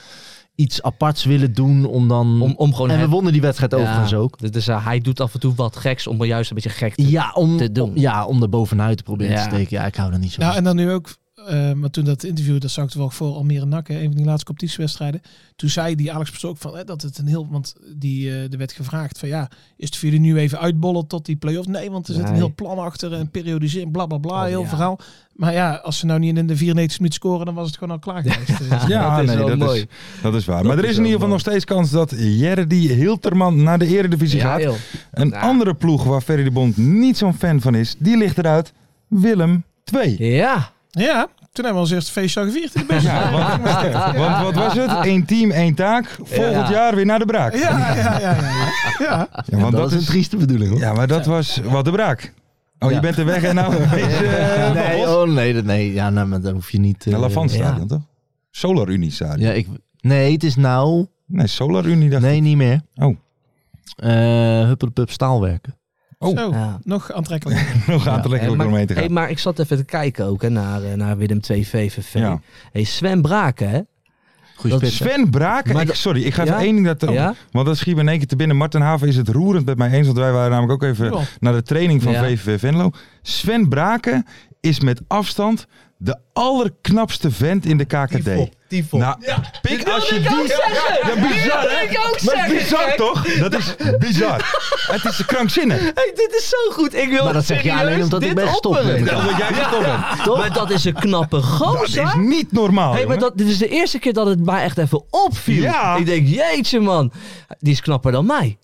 iets aparts willen doen om Hm. dan... Om, om gewoon en we het- wonnen die wedstrijd overigens Ja. ook. Dus eh, hij doet af en toe wat geks om er juist een beetje gek te Ja, om, te doen. om- ja, om er bovenuit te proberen Ja. te steken. Ja, ik hou er niet zo Nou, van. en dan nu ook, eh, maar toen dat interview, dat zag ik toevallig voor Almere Nakken, een van die laatste competitiewedstrijden. Toen zei die Alex Pastoor ook van eh, dat het een heel, want die, eh, er werd gevraagd van ja, is het voor jullie nu even uitbollen tot die play-off? Nee, want er zit een Nee. heel plan achter en periodiseren, bla bla bla, Oh, heel ja. verhaal. Maar ja, als ze nou niet in de 94 minuten scoren, dan was het gewoon al klaar geweest. Dus- Ja, Dat is nee, wel dat, mooi. Is, dat is waar. Dat maar er is is in wel ieder geval mooi. nog steeds kans dat Jerdy Hilterman naar de Eredivisie Ja, gaat. joh. Een Ja. andere ploeg waar Ferry de Bond niet zo'n fan van is, die ligt eruit. Willem 2. Ja. ja, toen hebben we ons eerste feestje al gevierd in de bus. Ja, want, want wat was het? Eén team, één taak. Volgend Ja. jaar weer naar de braak. Ja, ja, ja, ja, ja. ja. Ja, want dat is, trieste bedoeling hoor. ja, maar dat was wat de braak. Oh, je Ja. bent er weg en nou is eh nee, nee, oh nee, dat- nee. Ja, nou, maar dan hoef je niet... eh, La ja. Stadion, toch? Solar Unie Stadion. Ja, ik, nee, het is nou... Nee, Solar Unie dacht ik. Nee, niet meer. Oh. Eh Huppelepup staalwerken. Oh. Zo, Ja. nog aantrekkelijk. Nog aan te Ja, lekker Eh, maar, om mee te hey, gaan. maar ik zat even te kijken ook hè, naar, eh, naar Willem 2 VVV. Ja. Hey, Sven Braken, hè? Goeie Dat- spits. hè? Sven Braken, Maar ik- dat- sorry, ik ga Ja? even één ding dat oh, Ja? Want dat schiet me in één keer te binnen. Martin Haven is het roerend met mij eens. Want wij waren namelijk ook even Ja. naar de training van Ja. VVV Venlo. Sven Braken is met afstand de allerknapste vent in de KKD. Nou, pik als je die... Ja, bizar, hè? Maar bizar, toch? Dat is bizar. het is krankzinnig. Hey, dit is zo goed. Ik wil Maar dat zeg je serieus alleen omdat ik dit ben gestopt opperen. met Dat jij gestopt bent. Nou, Toch? Maar dat is een knappe Dat gozer. is niet normaal, Hey, jongen. maar dat, dit is de eerste keer dat het mij echt even opviel. Ja. Ik denk, jeetje man, die is knapper dan mij.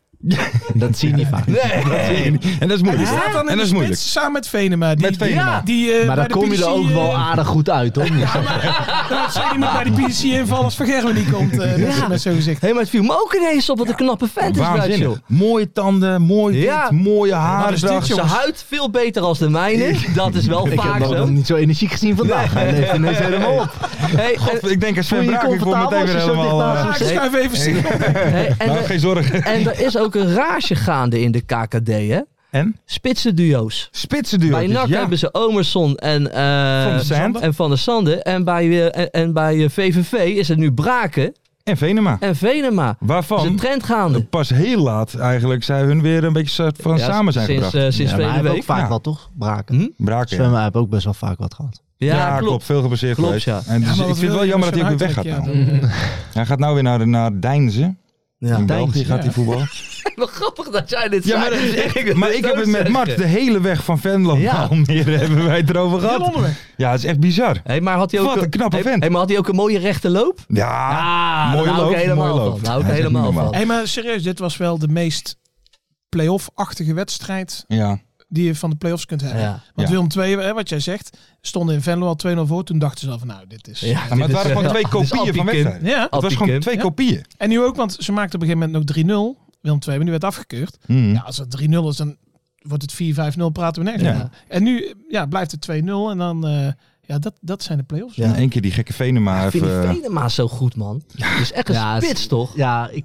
Dat zie je niet vaak. Nee. En dat is Hij moeilijk. hoor. staat dan in En de dat is moeilijk. spits samen met Venema. Die, Met Venema. ja, Die, eh, Maar bij daar de kom je er PSV, ook eh, wel aardig goed uit, hoor. Dat zei die moet Nou, bij de PC invallen als Van Gerwen niet komt. eh, met- Ja. Met zo'n gezicht. Hé, maar het viel me ook ineens op wat een knappe vent is. dat, joh. Waanzinnig. Mooie tanden, mooi wit, Ja. mooie Wat is dit, haardracht. Zijn jongens? huid veel beter als de mijne. Dat is wel Ik heb vaak hem zo. nog niet zo energiek gezien vandaag. Hij leeft ineens helemaal op. Hey, en- God, ik denk aan Sven Voel je je Braak, ik word comfortabel meteen als weer je zo helemaal... dicht naast eh, Ah, ik schuif even stil. hey, en, nou, er- geen zorgen. en er is ook een rage gaande in de KKD, hè? En? dus, Spitsenduo's. Spitsen duo. Bij NAC hebben ze Omerson en, eh, Van der Sande. en Van der Sande. En bij, eh, en, en bij eh, VVV is het nu Braken En Venema. en Venema. Dat is een Waarvan trend gaande. pas heel laat eigenlijk zij hun weer een beetje soort van Ja, samen zijn sinds, gebracht. eh, sinds Ja, maar hij vele heeft week. ook vaak Ja. wat, toch? Braken. Hm? Braken. Sven, maar hij heeft ook best wel vaak wat gehad. Ja, klopt. Veel gebaseerd Klopt, geweest. ja. En dus maar ik wat vind het wel wil je jammer dat hij ook met weer weg gaat. zo'n nou. uiterlijk? Ja, Hij gaat nou weer naar, naar Deinzen. Ja. In België gaat hij ja. voetbal. Wat grappig dat jij dit Ja, maar, dat zei. is echt, wil maar ik zo heb het met zeggen. Mart de hele weg van Venlo Ja. naar Almere hebben wij het erover dan- Heel gehad. onderweg. Ja, het is echt bizar. Hey, maar had hij ook Wat een knappe hey, vent. hey, maar had hij ook een mooie rechte loop? Ja, Ah, mooie daar hou loop, ik helemaal mooie van. loop. Daar hou ik Hij is echt helemaal niet normaal. van. Hé, maar serieus, dit was wel de meest playoff-achtige wedstrijd ja. die je van de playoffs kunt hebben. Ja. Want Ja. Willem II, hè, wat jij zegt, stonden in Venlo al 2-0 voor. Toen dachten ze al van, nou, dit is... Ja. Ja, maar het waren gewoon twee kopieën van wedstrijden. ja. Het was gewoon Appiekim. twee Ja. kopieën. En nu ook, want ze maakten op een gegeven moment nog 3-0. Willem II, maar die werd afgekeurd. Mhm. Ja, als het 3-0 is, dan wordt het 4-5-0, praten we nergens Ja. meer. En nu ja, blijft het 2-0 en dan... eh, ja, dat, dat zijn de playoffs. Ja, één keer die gekke Venema Ik vind die even... eh, Venema zo goed, man. Dat is echt een Ja, spits, toch? Ja, ik,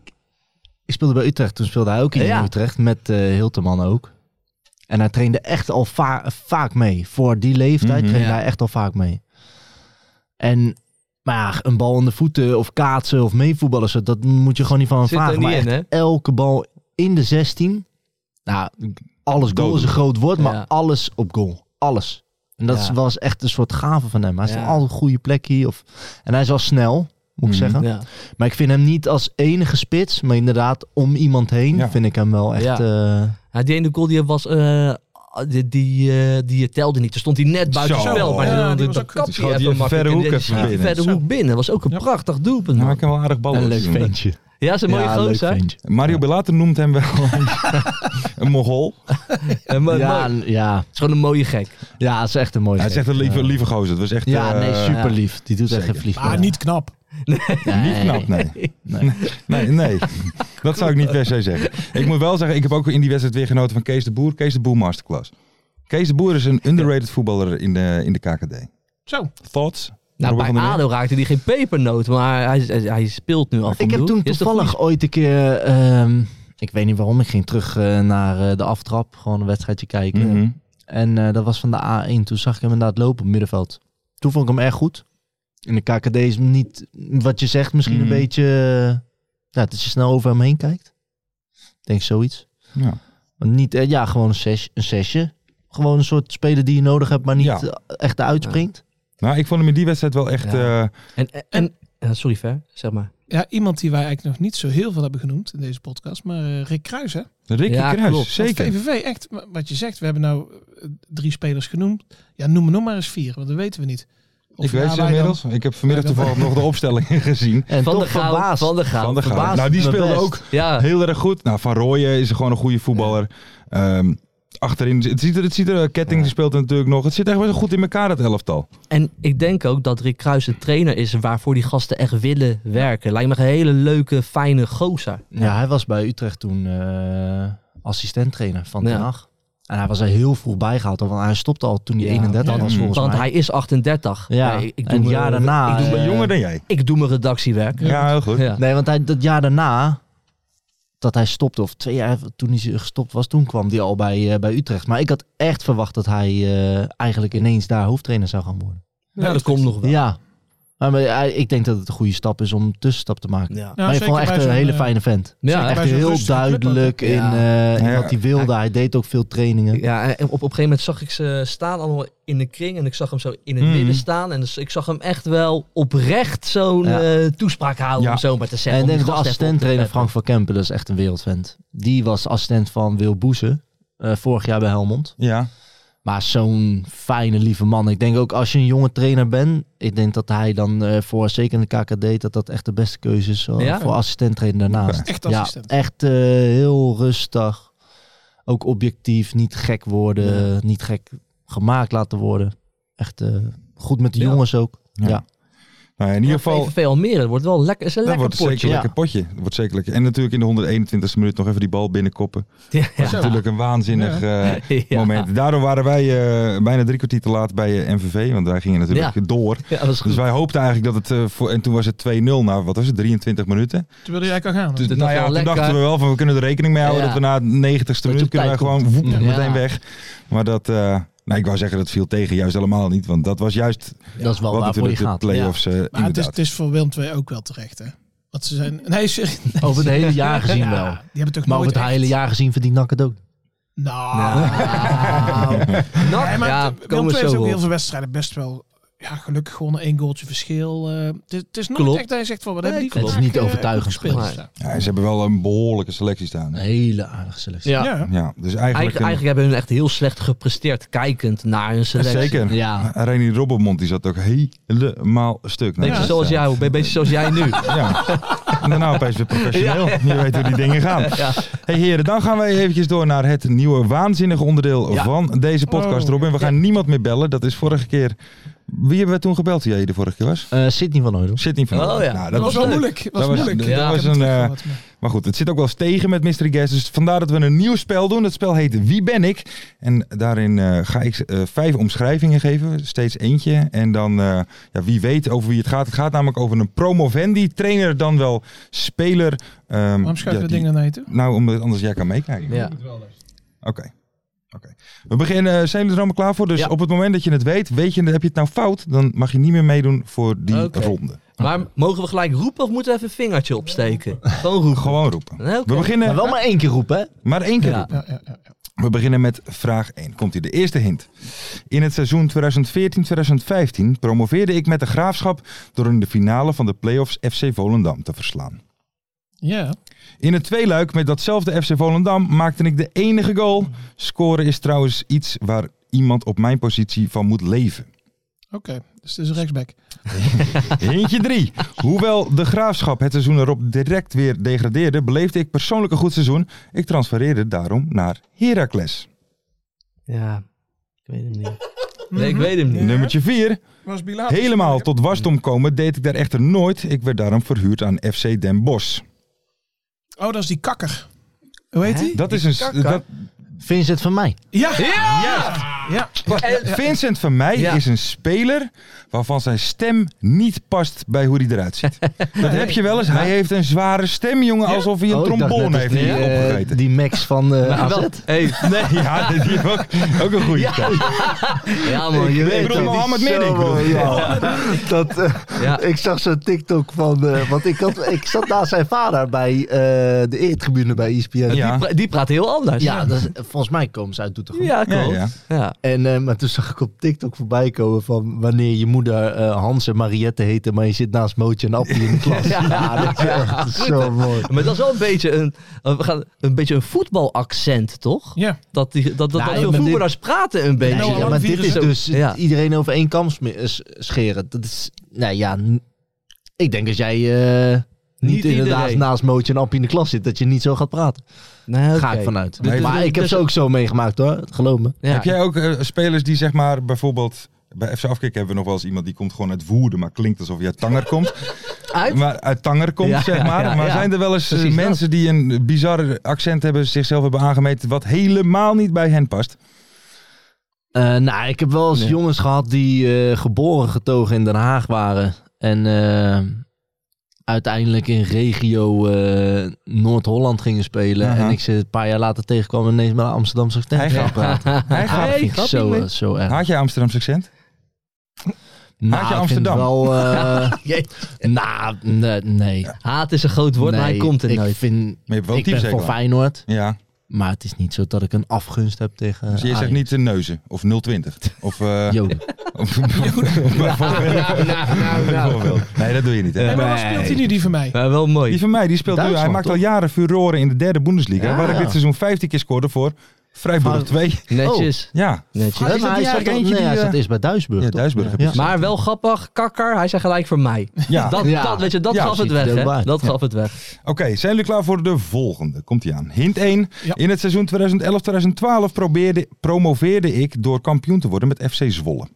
ik speelde bij Utrecht. Toen speelde hij ook hier Ja. in Utrecht. Met eh Hilterman ook. En hij trainde echt al va- vaak mee. Voor die leeftijd Mhm. trainde Ja. hij echt al vaak mee. En... Maar ja, een bal in de voeten of kaatsen of meevoetballen, zo, dat moet je gewoon niet van hem Zit er vragen. niet Maar in, echt hè? elke bal in de 16. Nou, alles goal is een groot woord, maar Ja. alles op goal. Alles. En dat Ja. is was echt een soort gave van hem. Hij is Ja. altijd een goede plek hier. Of... En hij is wel snel, moet Mhm. ik zeggen. Ja. Maar ik vind hem niet als enige spits, maar inderdaad om iemand heen Ja. vind ik hem wel echt... Ja. eh, Ja, die ene goal die was... eh, die, die, eh, die telde niet. Er stond hij net buiten Zo. spel. Maar Ja, dan- die dan was ook dan goed. kapt Die hij schoot die even verre makkelijk. hoek En die even schiet die binnen. verre Zo. hoek binnen. was ook een Ja. prachtig doelpunt. Nou, man. ik heb wel aardig ballen. een leuk gezien. ventje. Ja, is een mooie ja, leuk gozer. ventje. Mario Belater noemt hem wel een mogol. Ja, mooi- Ja, mooi. Het ja, is gewoon een mooie gek. ja, het is echt een mooie Hij is echt een lieve, Ja. lieve gozer. Het was echt Ja, eh, nee, super lief. Die doet echt zeker. een vlieg. Maar niet knap. niet knap. Nee. Nee. nee, nee. Dat zou ik niet per se zeggen. Ik moet wel zeggen, ik heb ook in die wedstrijd weer genoten van Kees de Boer. Kees de Boer Masterclass. Kees de Boer is een underrated voetballer in de, in de KKD. Zo. Thoughts? Nou, Robert bij van der Meer? ADO raakte hij geen pepernoot, maar hij, hij, hij speelt nu af en Ik heb toe. toen Is toch toevallig goed? ooit een keer ehm, ik weet niet waarom, ik ging terug eh, naar eh, de aftrap, gewoon een wedstrijdje kijken. Mhm. En eh, dat was van de A1. Toen zag ik hem inderdaad lopen op het middenveld. Toen vond ik hem erg goed. In de KKD is hem niet, wat je zegt, misschien Mhm. een beetje... eh, ja, dat je snel over hem heen kijkt. Ik denk zoiets. Ja. Maar niet, eh, ja, gewoon een, ses, een sesje. Gewoon een soort speler die je nodig hebt, maar niet Ja. eh, echt uitspringt. Nou, ik vond hem in die wedstrijd wel echt... Ja. eh, En, en, ja, sorry, Ver, zeg maar. Ja, iemand die wij eigenlijk nog niet zo heel veel hebben genoemd in deze podcast, maar eh, Rick Kruijs, hè? Ricky Ja, Kruis, klopt. zeker. Want VVV, echt, wa- wat je zegt, we hebben nou eh, drie spelers genoemd. Ja, noem er nog maar eens vier, want dat weten we niet. Of Ik weet ja, ze wij inmiddels. dan. Ik heb vanmiddag Ja, dan- toevallig nog de opstelling gezien. En van, toch de Gaal, verbaasd. van de Gaal. Van der Gaal. Verbaasd Nou, die me speelde best. ook Ja, Heel erg goed. Nou, Van Rooyen is gewoon een goede voetballer. Ehm, achterin, het ziet er, het ziet er eh, Ketting speelt er natuurlijk nog. Het zit echt wel goed in elkaar, dat elftal. en ik denk ook dat Rick Kruijs een trainer is waarvoor die gasten echt willen werken. Lijkt me een hele leuke, fijne gozer. Ja, hij was bij Utrecht toen eh assistent-trainer van Den Ja. Haag. En hij was er heel vroeg bijgehaald, want hij stopte al toen hij Ja, 31 ja. was volgens Want mij. hij is 38. Ja, Nee, en het mijn- jaar daarna... Ik doe, eh, Maar jonger dan jij. ik doe mijn redactiewerk. Ja, heel goed. Ja. Nee, want hij, dat jaar daarna, dat hij stopte, of twee jaar toen hij gestopt was, toen kwam hij al bij, eh, bij Utrecht. Maar ik had echt verwacht dat hij eh, eigenlijk ineens daar hoofdtrainer zou gaan worden. Nou, dat komt nog wel. Ja. Maar, maar hij- ik denk dat het een goede stap is om een tussenstap te maken. Ja. Ja, maar je zeker vond echt bij een zo'n, hele eh, fijne vent. Ja, Zeker Echt bij zo'n heel rustige club ook. duidelijk in, Ja. eh, in Ja. wat hij wilde. Hij deed ook veel trainingen. Ja, en op, op een gegeven moment zag ik ze staan allemaal in de kring. En ik zag hem zo in het Mhm. midden staan. En dus ik zag hem echt wel oprecht zo'n Ja. eh, toespraak houden, Ja. om zo maar te en zeggen. ik om die denk gasten de even op te assistent-trainer Frank peppen. van Kempen, dat is echt een wereldvent. Die was assistent van Wil Boezen, eh, vorig jaar bij Helmond. Ja. Maar zo'n fijne, lieve man. Ik denk ook als je een jonge trainer bent. Ik denk dat hij dan eh, voor, zeker in de KKD, dat dat echt de beste keuze is. eh, Ja? Voor assistent trainer daarnaast. Echt Ja, assistent. echt eh, heel rustig. Ook objectief. Niet gek worden. Niet gek gemaakt laten worden. Echt eh, goed met de Ja. jongens ook. Ja. Ja. Nou, in ieder geval, VVV Almere, dat wordt wel lekker, is een dat wordt lekker zeker potje. een lekker potje. Dat wordt zeker lekker. En natuurlijk in de 121 e minuut nog even die bal binnenkoppen. Ja, Dat is Zo. natuurlijk een waanzinnig eh, Ja. moment. Daardoor waren wij eh, bijna drie kwartier te laat bij eh, MVV, want wij gingen natuurlijk Ja. door. Ja, dat is goed. Dus wij hoopten eigenlijk dat het... eh, voor, en toen was het 2-0 na, wat was het, 23 minuten? Toen wilde jij eigenlijk al gaan. Dus, Toen nou dacht ja, wel toen lekker. dachten we wel van we kunnen er rekening mee houden Ja. dat we na het 90ste je minuut op kunnen wij tijd gewoon woep, Ja. meteen Ja. weg. Maar dat, eh, nou ik wou zeggen dat viel tegen, juist helemaal niet. Want dat was juist Dat is wel wat waarvoor je natuurlijk de gaat. Ja. play-offs eh, Maar het is, inderdaad. het is voor Willem II ook wel terecht, hè? Want ze zijn... Nee, serieus. Over het hele jaar gezien Ja, wel. Die hebben toch Maar over nooit het echt- hele jaar gezien verdient NAC het ook. Nou. Nou, Nee, maar ja, Willem komen we II heeft ook zo heel op. veel wedstrijden best wel... Ja, gelukkig gewonnen. één goaltje verschil. eh, het, is- het is nooit Klopt. echt dat je zegt van... Wat Nee, hebben die klopt. vandaag, Het is niet eh, goed overtuigend gespeeld. geweest. Ja. Ja, ze hebben wel een behoorlijke selectie staan. Een hè. hele aardige selectie. Ja. Ja. Ja, dus eigenlijk... Eigen- een- eigenlijk hebben hun echt heel slecht gepresteerd, kijkend naar hun selectie. Zeker. Ja. René Robbermond die zat ook helemaal stuk. Nou, Beetje Ja. zoals jij, een beetje zoals jij nu. Ja. En daarna opeens weer professioneel. Je weet hoe die dingen gaan. Hey heren, dan gaan wij eventjes door naar het nieuwe waanzinnige onderdeel Ja. van deze podcast, Oh. Robin. We gaan niemand meer bellen. Dat is vorige keer... Wie hebben we toen gebeld die jij de vorige keer was? Eh Sidney van Hooydonk. Zit niet van. Oh, Oorlog. ja. Nou, Dat was wel leuk. moeilijk. Dat was hmm, was- moeilijk. dat Ik heb was het een, eh, teruggehoord, maar- Maar goed, het zit ook wel eens tegen met Mystery Guest. Dus vandaar dat we een nieuw spel doen. Dat spel heet Wie ben ik? En daarin eh, ga ik eh, vijf omschrijvingen geven. Steeds eentje. En dan, eh, ja, wie weet over wie het gaat. Het gaat namelijk over een promovendi. Trainer dan wel speler. Ehm, Waarom schuiven ja, we die- dingen naar je toe? Nou, omdat anders jij kan meekijken. Ja. Oké. Oké. We beginnen, eh, zijn jullie er allemaal klaar voor? Dus Ja. op het moment dat je het weet, weet je, heb je het nou fout, dan mag je niet meer meedoen voor die Oké. ronde. Maar mogen we gelijk roepen of moeten we even een vingertje opsteken? Gewoon roepen. Gewoon roepen. Nee, oké. We beginnen Maar wel maar één keer roepen, hè? maar één keer Ja. roepen. Ja, ja, ja. We beginnen met vraag 1. Komt hier de eerste hint. In het seizoen 2014-2015 promoveerde ik met de graafschap door in de finale van de play-offs FC Volendam te verslaan. Ja. In het tweeluik met datzelfde FC Volendam maakte ik de enige goal. Scoren is trouwens iets waar iemand op mijn positie van moet leven. Oké, dus het is een rechtsback. Hintje 3. Hoewel de graafschap het seizoen erop direct weer degradeerde, beleefde ik persoonlijk een goed seizoen. Ik transfereerde daarom naar Heracles. Ja, ik weet hem niet. Nee, ik weet hem niet. Nummertje 4. Was Bilal. Helemaal tot wasdom komen deed ik daar echter nooit. Ik werd daarom verhuurd aan FC Den Bosch. Oh, dat is die kakker. Hoe heet Hè? die? Dat is een... s- kakker. Dat, Vind je het van mij? Ja! juist! Ja. Wacht, Vincent van Mij Ja. is een speler waarvan zijn stem niet past bij hoe hij eruit ziet. Dat heb je wel eens. Hij heeft een zware stem, jongen, alsof hij een Oh, ik dacht net trombone als heeft die, eh, opgegeten. Die Max van eh AZ. Wel- Hey, nee. Ja, die heeft ook, ook een goede stem. Ja, Oh, man. Je Ik weet bedoel, het. Mohammed Zo Meerdink. bedoel mooi, ik. ja. Dat, eh, Ja. Ik zag zo'n TikTok van... eh, want ik, had, ik zat naast zijn vader bij eh, de eretribune bij ESPN. Ja, Ja. Die, pra- die praat heel anders. dat is- volgens mij komen ze uit Doetinchem. ja Ja, klopt. ja. Ja. En, eh, maar toen zag ik op TikTok voorbij komen van wanneer je moeder eh, Hans en Mariette heette, maar je zit naast Mootje en Appie in de klas. Ja, dat is echt zo mooi. Maar dat is wel een beetje een, eh, we gaan, een, beetje een voetbalaccent, toch? Ja. Dat, die, dat, dat, Nou, dat veel ik ben dit- voetballers praten een beetje. Nee, Nou, ja, alle maar dit vieren is zo. dus Ja. iedereen over één kam sme- eh, s- scheren. Dat is, nou ja, n- ik denk als jij eh, niet, Niet inderdaad iedereen. naast Mootje en Appie in de klas zit, dat je niet zo gaat praten. Nee, Ga ik oké. vanuit. Nee, maar dus- ik heb dus- ze ook zo meegemaakt hoor, geloof me. Ja. Heb jij ook eh, spelers die zeg maar bijvoorbeeld... Bij FC Afkik hebben we nog wel eens iemand die komt gewoon uit Woerden, maar klinkt alsof hij uit Tanger komt. Uit? Maar uit Tanger komt, Ja, zeg ja, maar. ja, maar ja. zijn er wel eens eh, Precies dat. mensen die een bizar accent hebben, zichzelf hebben aangemeten, wat helemaal niet bij hen past? Eh, nou, ik heb wel eens Nee. jongens gehad die eh, geboren getogen in Den Haag waren. En eh, uiteindelijk in regio eh, Noord-Holland gingen spelen. Aha. En ik ze een paar jaar later tegenkwam en ineens met een Amsterdamse accent Hij ging gaat praten. Hij gaat Dat vind ik grap zo, niet eh, zo erg. Had jij Amsterdamse accent? Nou, ik vind Amsterdam? het wel... eh, nou, nee. nee. Haat is een groot woord, maar hij Nee, komt er ik nooit. Vind, Maar je hebt wel ik ben types voor zeker wel. Feyenoord. Ja, Maar het is niet zo dat ik een afgunst heb Eh, tegen dus je Ajax. zegt niet de neuzen of 020 of... eh, Joden. of- nou. Nou, Bijvoorbeeld. Nee, dat doe je niet. hè? En waar speelt hij nu die van mij? Maar wel mooi. Die van mij, die speelt nu. Hij Duitsland, maakt al toch? jaren furoren in de derde Bundesliga. Ja. Waar ik dit seizoen 15 keer scoorde voor Freiburg Maar- 2. Netjes. Ja. Netjes. Is dat maar hij die zat, eigenlijk al- eentje nee, hij die, eh, zat eerst bij Duisburg, Ja, toch? Duitsburg heb je gezien. Maar wel grappig, kakker, hij zei gelijk voor mij. Oh. Ja. Dat, Ja. dat, weet je, dat Ja, gaf het ziet er weg, ook hè? bij. Dat gaf het weg. Oké, zijn jullie klaar voor de volgende? Komt ie aan. Hint 1. Ja. In het seizoen 2011-2012 probeerde- promoveerde ik door kampioen te worden met FC Zwolle.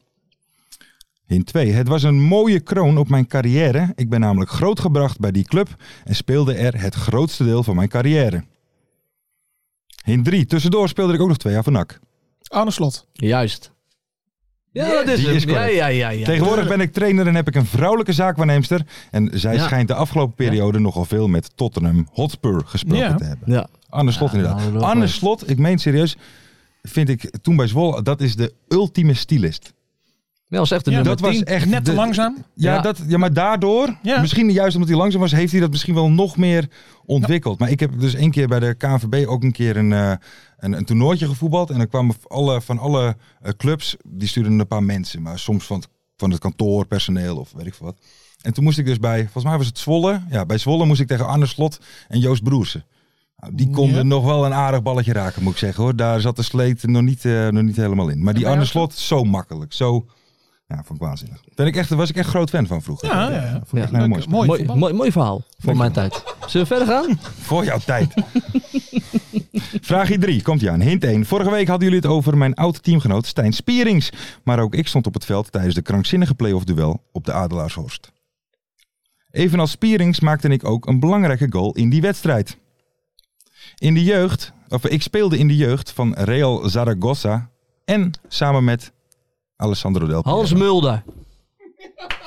Hint 2. Het was een mooie kroon op mijn carrière. Ik ben namelijk grootgebracht bij die club en speelde er het grootste deel van mijn carrière. Hint 3. Tussendoor speelde ik ook nog twee jaar van NAC. Arne Slot. Juist. Ja, dat is Die hem. is ja, correct. ja, ja, ja. Tegenwoordig ben ik trainer en heb ik een vrouwelijke zaakwaarnemster. En zij Ja. schijnt de afgelopen periode nogal veel met Tottenham Hotspur gesproken Ja. te hebben. Ja. Anne Slot Ja, inderdaad. nou, dat wel Anne leuk. Slot, ik meen serieus, vind ik toen bij Zwolle, dat is de ultieme stylist. Ja, was echt de Ja, nummer dat was 10. echt Net te de- langzaam. Ja, Ja. Dat, ja maar daardoor, Ja. misschien juist omdat hij langzaam was, heeft hij dat misschien wel nog meer ontwikkeld. Maar ik heb dus één keer bij de KNVB ook een keer een, eh, een, een toernooitje gevoetbald. En dan kwamen alle, van alle eh, clubs, die stuurden een paar mensen. Maar soms van het, van het kantoor, personeel of weet ik veel wat. En toen moest ik dus bij, volgens mij was het Zwolle. Ja, bij Zwolle moest ik tegen Arne Slot en Joost Broersen. Nou, die konden Ja. nog wel een aardig balletje raken, moet ik zeggen hoor. Daar zat de sleet nog niet, eh, nog niet helemaal in. Maar die bij Arne jou, Slot, zo makkelijk, zo... Ja, vond ik waanzinnig. Ben ik echt, daar was ik echt groot fan van vroeger. Ja, ja, ja. Vond ik echt Ja. een mooi Leuk, spel. mooi. mooi, voetbal. mooi, mooi verhaal. Voor mijn tijd. Zullen we verder gaan? Voor jouw tijd. Vraag 3, komt ie aan. Hint 1. Vorige week hadden jullie het over mijn oud teamgenoot Stijn Spierings. Maar ook ik stond op het veld tijdens de krankzinnige play-off duel op de Adelaarshorst. Evenals Spierings maakte ik ook een belangrijke goal in die wedstrijd. In de jeugd, of ik speelde in de jeugd van Real Zaragoza en samen met Alessandro Del Piero. Hans Mulder.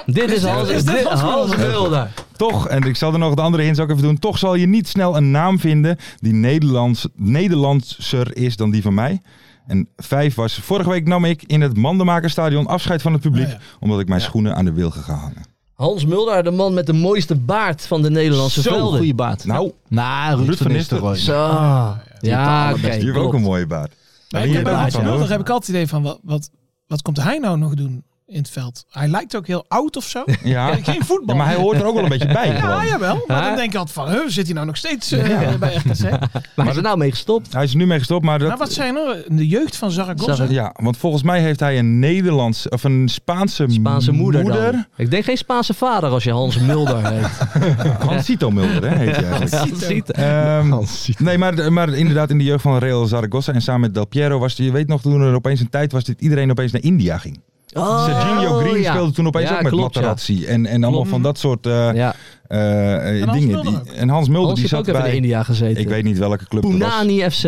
Dit is Hans, Is dit dit- Hans Hans Mulder? Mulder. Toch, en ik zal er nog de andere hints ook even doen. Toch zal je niet snel een naam vinden die Nederlands, Nederlandser is dan die van mij. En vijf was, vorige week nam ik in het Mandenmakerstadion afscheid van het publiek. Ah, ja. Omdat ik mijn schoenen aan de wilgen ga hangen. Hans Mulder, de man met de mooiste baard van de Nederlandse Zo'n velden. goede baard. Nou, Nou, Ruud, Ruud van van Nistelrooy. Zo. Ah. Ja, oké. die heeft ook klopt. een mooie baard. die Maar ik heb heb bij ik Hans ook van, Mulder hoor. heb ik altijd het idee van, wat, wat, wat komt hij nou nog doen in het veld? Hij lijkt ook heel oud of zo. Ja. Geen Ja, voetbal. maar hij hoort er ook wel een beetje bij. Ja, gewoon. jawel. Maar Hè? dan denk ik altijd van, huh, zit hij nou nog steeds eh, bij RKC? Maar hij is er nou mee gestopt. Hij is er nu mee gestopt, maar dat... Maar Nou, wat zijn er? De jeugd van Zaragoza. Zaragoza. Ja, want volgens mij heeft hij een Nederlands of een Spaanse, Spaanse moeder, dan. Ik denk geen Spaanse vader als je Hans Mulder heet. Hansito Mulder, hè, heet hij eigenlijk. Ja, dat ziet er. Ehm, Nee, maar, maar inderdaad in de jeugd van Real Zaragoza en samen met Del Piero was, je weet nog, toen er opeens een tijd was dat iedereen opeens naar India ging. Oh, Sergio Green ja. speelde toen opeens Ja, ook met klopt, ja. Materazzi. En, en allemaal van dat soort eh, Ja. eh, eh, Hans dingen. Mulder Die, en Hans Mulder, Hans die heeft zat ook even in bij... India gezeten. Ik weet niet welke club dat was. Poenani FC.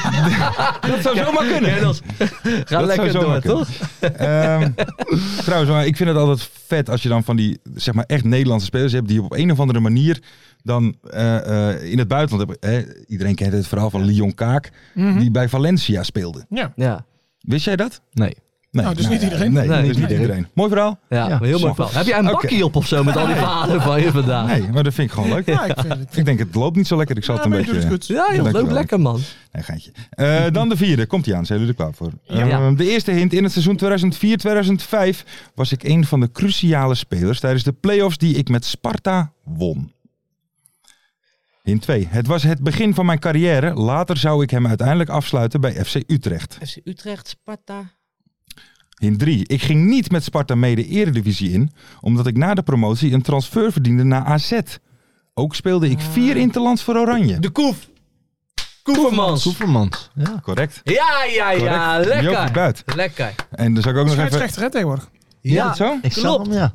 dat zou zomaar kunnen. Ga Dat lekker zou zomaar door, kunnen. toch? Ehm, trouwens, maar ik vind het altijd vet als je dan van die zeg maar echt Nederlandse spelers hebt die op een of andere manier dan eh, eh, in het buitenland hebben. Hè, iedereen kent het verhaal van Lyon Kaak, Mhm. Mhm. die bij Valencia speelde. Ja. Ja. wist jij dat? Nee. Nee, Nou, dus niet iedereen. Nee, Nee. dus niet iedereen. Mooi verhaal. Ja, maar heel mooi snap. verhaal. Heb jij een Oké. bakkie op of zo met al die verhalen van je vandaag? Nee, maar dat vind ik gewoon leuk. Ja, ik vind het. Ik denk, het loopt niet zo lekker. Ik zat Ja, een maar je doet beetje... het goed. Ja, joh, leuk, Dankjewel. lekker man. Nee, geintje. Eh, dan de vierde. Komt die aan? Zijn jullie er klaar voor? Ja. Eh, de eerste hint. In het seizoen 2004-2005 was ik een van de cruciale spelers tijdens de play-offs die ik met Sparta won. Hint 2. Het was het begin van mijn carrière. Later zou ik hem uiteindelijk afsluiten bij FC Utrecht. FC Utrecht, Sparta. Hint 3. Ik ging niet met Sparta mee de eredivisie in, omdat ik na de promotie een transfer verdiende naar AZ. Ook speelde ik vier interlands voor Oranje. Ah. De Koef. Koevermans. Koevermans. Ja. Correct. Ja, ja, ja, Correct. Joopie lekker. Buit. Lekker. En dan zou ik ook nog even... Scheidsrechter, hè, tegenwoordig. Ja, dat zo? Ik zag Klopt. hem, ja.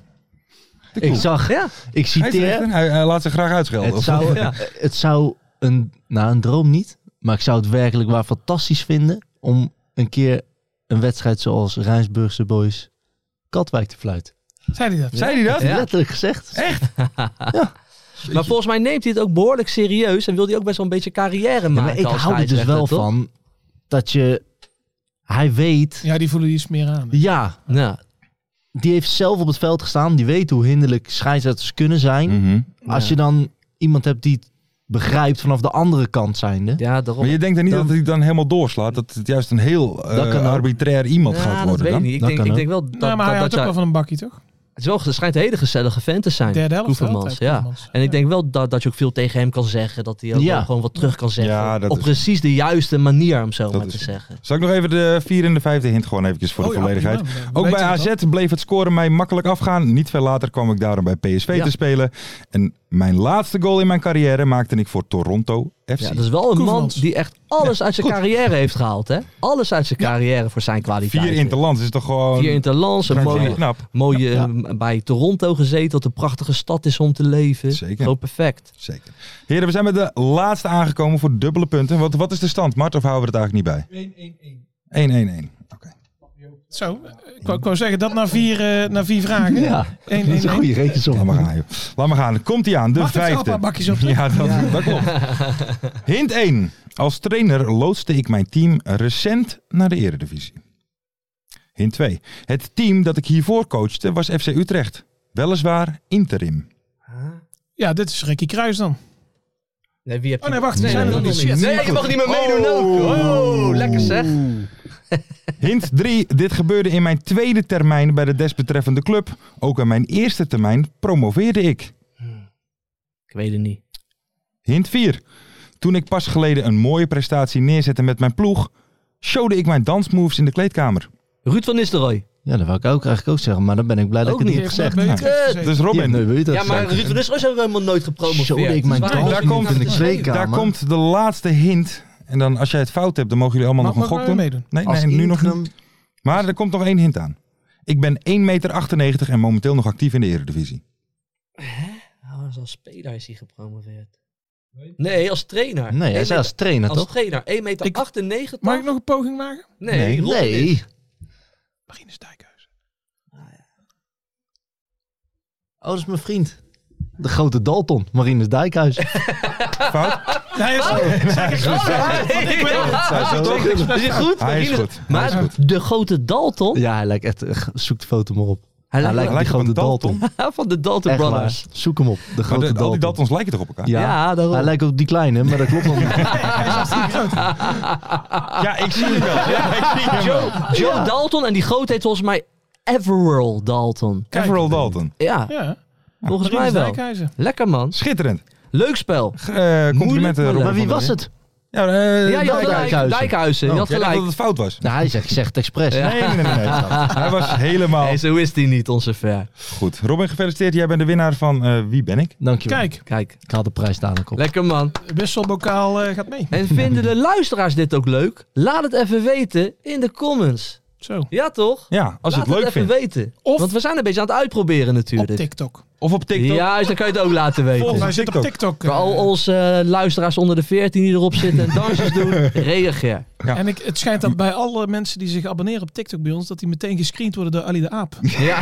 De Ik koe. zag, Ja. ik Scheidsrechter? citeer. Hij, hij laat zich graag uitschelden. Het of zou, Ja. het zou een, nou, een droom niet, maar ik zou het werkelijk waar fantastisch vinden om een keer een wedstrijd zoals Rijnsburgse Boys Katwijk te fluiten. Zei hij dat? Zei hij dat? Ja. Letterlijk gezegd. Maar volgens mij neemt hij het ook behoorlijk serieus en wil hij ook best wel een beetje carrière maken. Ja, maar ik als hou er dus scheidsrechter, wel toch? van dat je, hij weet, Ja, die voelen iets meer aan. ja, Ja. die heeft zelf op het veld gestaan, die weet hoe hinderlijk scheidsrechters kunnen zijn. Mhm. Als je dan iemand hebt die het begrijpt vanaf de andere kant zijnde. ja, daarom. Maar je denkt er niet Dan- dat hij dan helemaal doorslaat? Dat het juist een heel eh, Dat kan ook. arbitrair iemand Ja, gaat dat worden weet ik dan? niet. Ik, Dat denk, kan ik ook. denk wel dat, nou, maar hij dat, dat houdt ook zij- wel van een bakkie, toch? Het is wel, het schijnt een hele gezellige vent te zijn. Derde helft. Koevermans, altijd, ja. Koevermans. En ik denk wel dat, dat je ook veel tegen hem kan zeggen. Dat hij ook Ja. wel gewoon wat terug kan zeggen. Ja, dat op is- precies de juiste manier, om zo maar is- te zeggen. Zal ik nog even de vierde en de vijfde hint gewoon eventjes voor Oh de ja, volledigheid? prima. Dan Ook weten bij we dat. AZ bleef het scoren mij makkelijk afgaan. Niet veel later kwam ik daarom bij PSV Ja. te spelen. En mijn laatste goal in mijn carrière maakte ik voor Toronto FC. Ja, dat is wel een Koevermans. man die echt alles uit zijn carrière heeft gehaald. Hè? Alles uit zijn carrière voor zijn kwaliteit. Vier interlands is toch gewoon... Vier interlands. Een Dankjewel. mooie, knap. mooie eh, bij Toronto gezeten. Dat een prachtige stad is om te leven. Zeker. Gewoon perfect. Zeker. Heren, we zijn met de laatste aangekomen voor dubbele punten. Wat, wat is de stand, Mart? Of houden we het eigenlijk niet bij? 1-1-1. 1-1-1. Oké. Zo, eh, ik wou, ik wou zeggen, dat na vier, eh, na vier vragen. Ja, Eén, één, dat is een één. goede rekensom. Laat maar gaan, joh. Laat maar gaan. Komt hij aan, de Wacht, ik zal een vijfde. paar bakjes op. Ja, dat, dat klopt. Hint 1. Als trainer loodste ik mijn team recent naar de eredivisie. Hint 2. Het team dat ik hiervoor coachte was FC Utrecht. Weliswaar interim. Ja, dit is Ricky Kruis dan. Nee, wie hebt Oh nee, wacht, we zijn er nog niet. Nee, je mag niet meer meedoen ook. Oh, lekker zeg. Hint 3. Dit gebeurde in mijn tweede termijn bij de desbetreffende club. Ook in mijn eerste termijn promoveerde ik. Ik weet het niet. Hint 4. Toen ik pas geleden een mooie prestatie neerzette met mijn ploeg, showde ik mijn dansmoves in de kleedkamer. Ruud van Nistelrooy. Ja, dat wil ik ook eigenlijk ook zeggen, maar dan ben ik blij dat Ook ik het niet niet. heb gezegd. Beter nou. gezegd. Dus Robin, Ja, nee, weet je dat Ja, maar zeker? Ruud van Nistelrooy is ook helemaal nooit Showde gepromoveerd. ik mijn Dus waarom dans zou je daar niet komt- naar de tweede- Kamer. Daar komt de laatste hint. En dan als jij het fout hebt, dan mogen jullie allemaal Mag nog een nog gok maar doen. meedoen. Nee, Als nee, nu nog interim- niet. Maar er komt nog één hint aan. Ik ben 1,98 meter en momenteel nog actief in de eredivisie. Oh, als- als speler is hij gepromoveerd. Nee, als trainer. Nee, hij Eén zei als meter- trainer als toch? trainer. 1,98 meter. Ik- Mag ik nog een poging maken? Nee, Robin is- nee. Marines Dijkhuizen. Oh, dat is mijn vriend. De grote Dalton, Marinus Dijkhuis. Fout? Nee, dat is- Ah, Zij zo. Is Hij is hij goed? Marine- goed. Hij is Maar goed. de grote Dalton. Ja, hij lijkt echt, echt- zoek de foto maar op. Hij lijkt, lijkt die op grote een Dalton. Dalton. van de Dalton Echt Brothers. waar. Zoek hem op, de Maar grote de, al Dalton. die Daltons lijken toch op elkaar? Ja, Ja, daarom. hij lijkt op die kleine, maar dat klopt nog niet. Ja, ik zie hem wel. Ja, ik zie hem wel. Joe Dalton en die grote heet volgens mij Everall Dalton. Everal Dalton. Ja, Ja, volgens mij Marines wel. Dijkhuizen. Lekker man. Schitterend. Leuk spel. Eh, complimenten, maar Robin. Maar wie van der was Meer. het? Ja, eh, Ja, je had gelijk. Dijkhuizen. Dijkhuizen. Je had Oh, jij dacht dat gelijk. het fout was. Nou, hij zegt, ik zeg het expres. Ja. Nee, nee, nee. nee. Hij was helemaal Nee, zo is hij niet, onze ver. goed. Robin, gefeliciteerd. Jij bent de winnaar van eh, Wie ben ik? Dankjewel. Kijk, Kijk, Ik haal de prijs dadelijk op. lekker man. wisselbokaal eh, gaat mee. En vinden de luisteraars dit ook leuk? Laat het even weten in de comments. Zo. Ja, toch? Ja, als je Laat het leuk even vindt. weten. Of- Want we zijn een beetje aan het uitproberen Op natuurlijk. TikTok. Of op TikTok. Ja, dus dan kan je het ook laten Volgens weten. mij zit op TikTok. eh, Voor al onze eh, luisteraars onder de 14 die erop zitten en dansjes doen, reageer. Ja. En ik, het schijnt dat bij alle mensen die zich abonneren op TikTok bij ons, dat die meteen gescreend worden door Ali de Aap. Ja.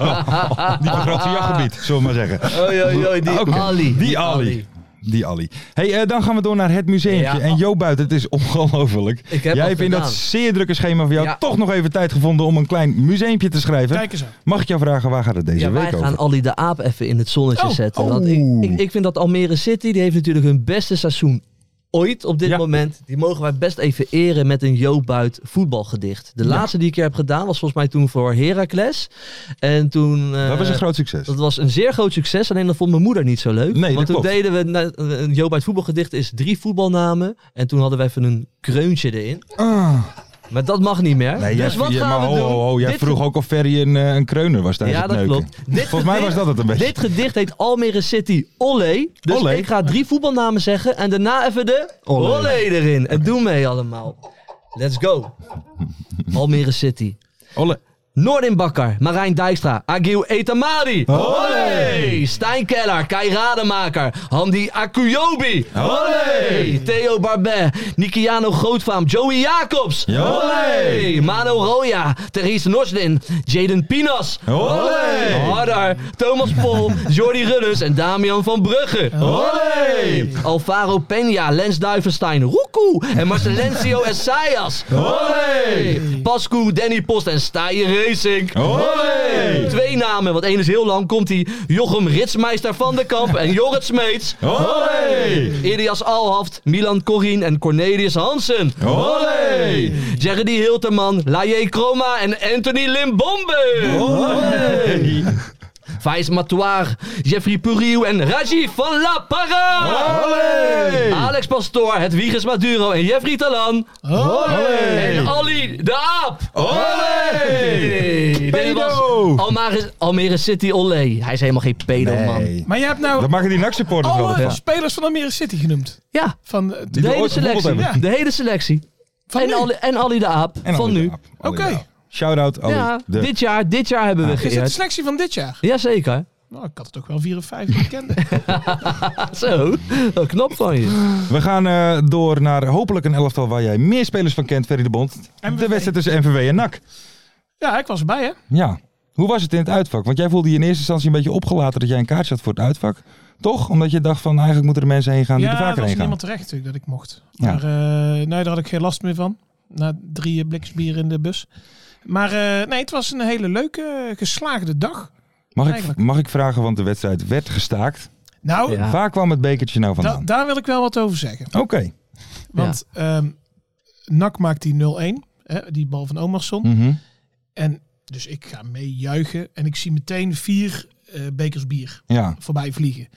Niet op Ah. Razzia-gebied, zullen we maar zeggen. Ah, Oei, oei, oei, die Oké, Ali. Oh, Die Ali. Die Ali. hey, eh, dan gaan we door naar het museum. Ja. En Jo Buiten, het is ongelooflijk. Ik Jij heb wat hebt in dat gedaan. zeer drukke schema van jou Ja. toch nog even tijd gevonden om een klein museumpje te schrijven. Kijk eens aan. Mag ik jou vragen, waar gaat het deze Ja, wij week gaan over? Ali de Aap even in het zonnetje Oh, zetten. Want ik, oeh. ik, ik vind dat Almere City, die heeft natuurlijk hun beste seizoen ooit op dit Ja. moment. Die mogen wij best even eren met een Jo Buit voetbalgedicht. De laatste die ik hier heb gedaan was volgens mij toen voor Heracles. En toen... eh, Dat was een groot succes. dat was een zeer groot succes, alleen dat vond mijn moeder niet zo leuk. Nee, dat Want toen klopt. deden we, na- een Jo Buit voetbalgedicht is drie voetbalnamen. En toen hadden we even een kreuntje erin. Ah. Maar dat mag niet meer. Nee, jij, dus wat jij- gaan maar we ho, doen? ho, ho, jij Dit vroeg ook of Ferry een, eh, een kreuner was tijdens Ja, het dat neuken. klopt. Dit Volgens mij was gedicht- dat het een beetje. Dit gedicht heet Almere City Olé. Dus Olé? ik ga drie voetbalnamen zeggen en daarna even de Olé. Olé, erin. En doe mee allemaal. Let's go. Almere City. Olle. Noordin Bakker, Marijn Dijkstra, Agiel Etamari. Olé! Stijn Keller, Kai Rademaker, Handy Akuyobi. Olé! Theo Barbet, Nikiano Grootvaam, Joey Jacobs. Olé! Mano Roya, Therese Noslin, Jaden Pinas. Olé! Harder, Thomas Pol, Jordi Ruddens en Damian van Brugge. Olé! Alvaro Peña, Lens Duivenstein, Roekoe en Marcelencio Essayas. Olé! Pascu, Danny Post en Staaien Racing. Olé! Twee namen, want één is heel lang, komt hij. Jochem Ritsmeister van de Kamp en Jorrit Smeets. Olé! Ilias Alhaft, Milan Corrin en Cornelius Hansen. Olé! Jerry Hilterman, Laie Kroma en Anthony Limbombe. Olé! Vijs Matoir, Jeffrey Puriu en Rajiv van La Parra. Olé! Alex Pastoor, Hedwiges Maduro en Jeffrey Talan. En Ali de Aap. Olé! Dit was Oh. Pedo! Almere, Almere City Olé. Hij is helemaal geen pedo, man. Nee. Maar je hebt nou Dat mag je die NAC-supporters wel alle ervan. spelers van Almere City genoemd. Ja, Van, eh, de hele ooit gevoetbald selectie. hebben. De hele selectie. van en, nu. Ali, en Ali de Aap En van Olly de nu. Aap. Olly de Oké. Aap. Shout-out Olly. Ja, De- dit jaar, dit jaar hebben we Is het de geëerd. selectie van dit jaar? Jazeker. Nou, ik had het ook wel 4 of 5 bekende. Zo, dat knap van je. We gaan eh, door naar hopelijk een elftal waar jij meer spelers van kent, Ferry de Bond. De wedstrijd tussen MVV en NAC. ja, ik was erbij, hè? Ja. Hoe was het in het uitvak? Want jij voelde je in eerste instantie een beetje opgelaten dat jij een kaartje had voor het uitvak. Toch? Omdat je dacht van eigenlijk moeten er mensen heen gaan die er ja, er vaker was heen gaan. niemand terecht natuurlijk dat ik mocht. Ja. Maar eh, nee, daar had ik geen last meer van. Na drie eh, blikjes bier in de bus. Maar eh, nee, het was een hele leuke, eh, geslaagde dag. Mag ik, Eigenlijk. mag ik vragen, want de wedstrijd werd gestaakt. Nou, Ja. Waar kwam het bekertje nou da- vandaan? daar wil ik wel wat over zeggen. Oké. Want ehm NAC maakt die 0-1. Hè, die bal van Omarsson. Mhm. En dus ik ga mee juichen. En ik zie meteen vier eh, bekers bier Ja. voorbij vliegen.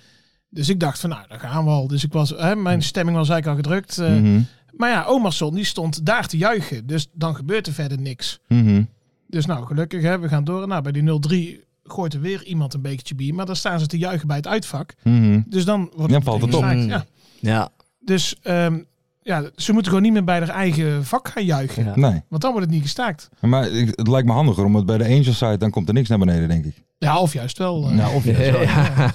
Dus ik dacht van nou, daar gaan we al. Dus ik was, hè, Hm. mijn stemming was eigenlijk al gedrukt. eh, Mhm. Maar ja, Omarsson die stond daar te juichen. Dus dan gebeurt er verder niks. Mhm. Dus nou, gelukkig, hè, we gaan door. Nou, bij die 0-3 gooit er weer iemand een bekertje bier. Maar dan staan ze te juichen bij het uitvak. Mhm. Dus dan wordt Dan valt het meteen op. Hm. gestaakt. Ja. Ja. Dus ehm, ja, ze moeten gewoon niet meer bij haar eigen vak gaan juichen. Ja. Nee. Want dan wordt het niet gestaakt. Maar ik- het lijkt me handiger, omdat bij de Angel site dan komt er niks naar beneden, denk ik. Ja, of juist wel. eh. Nou, of je-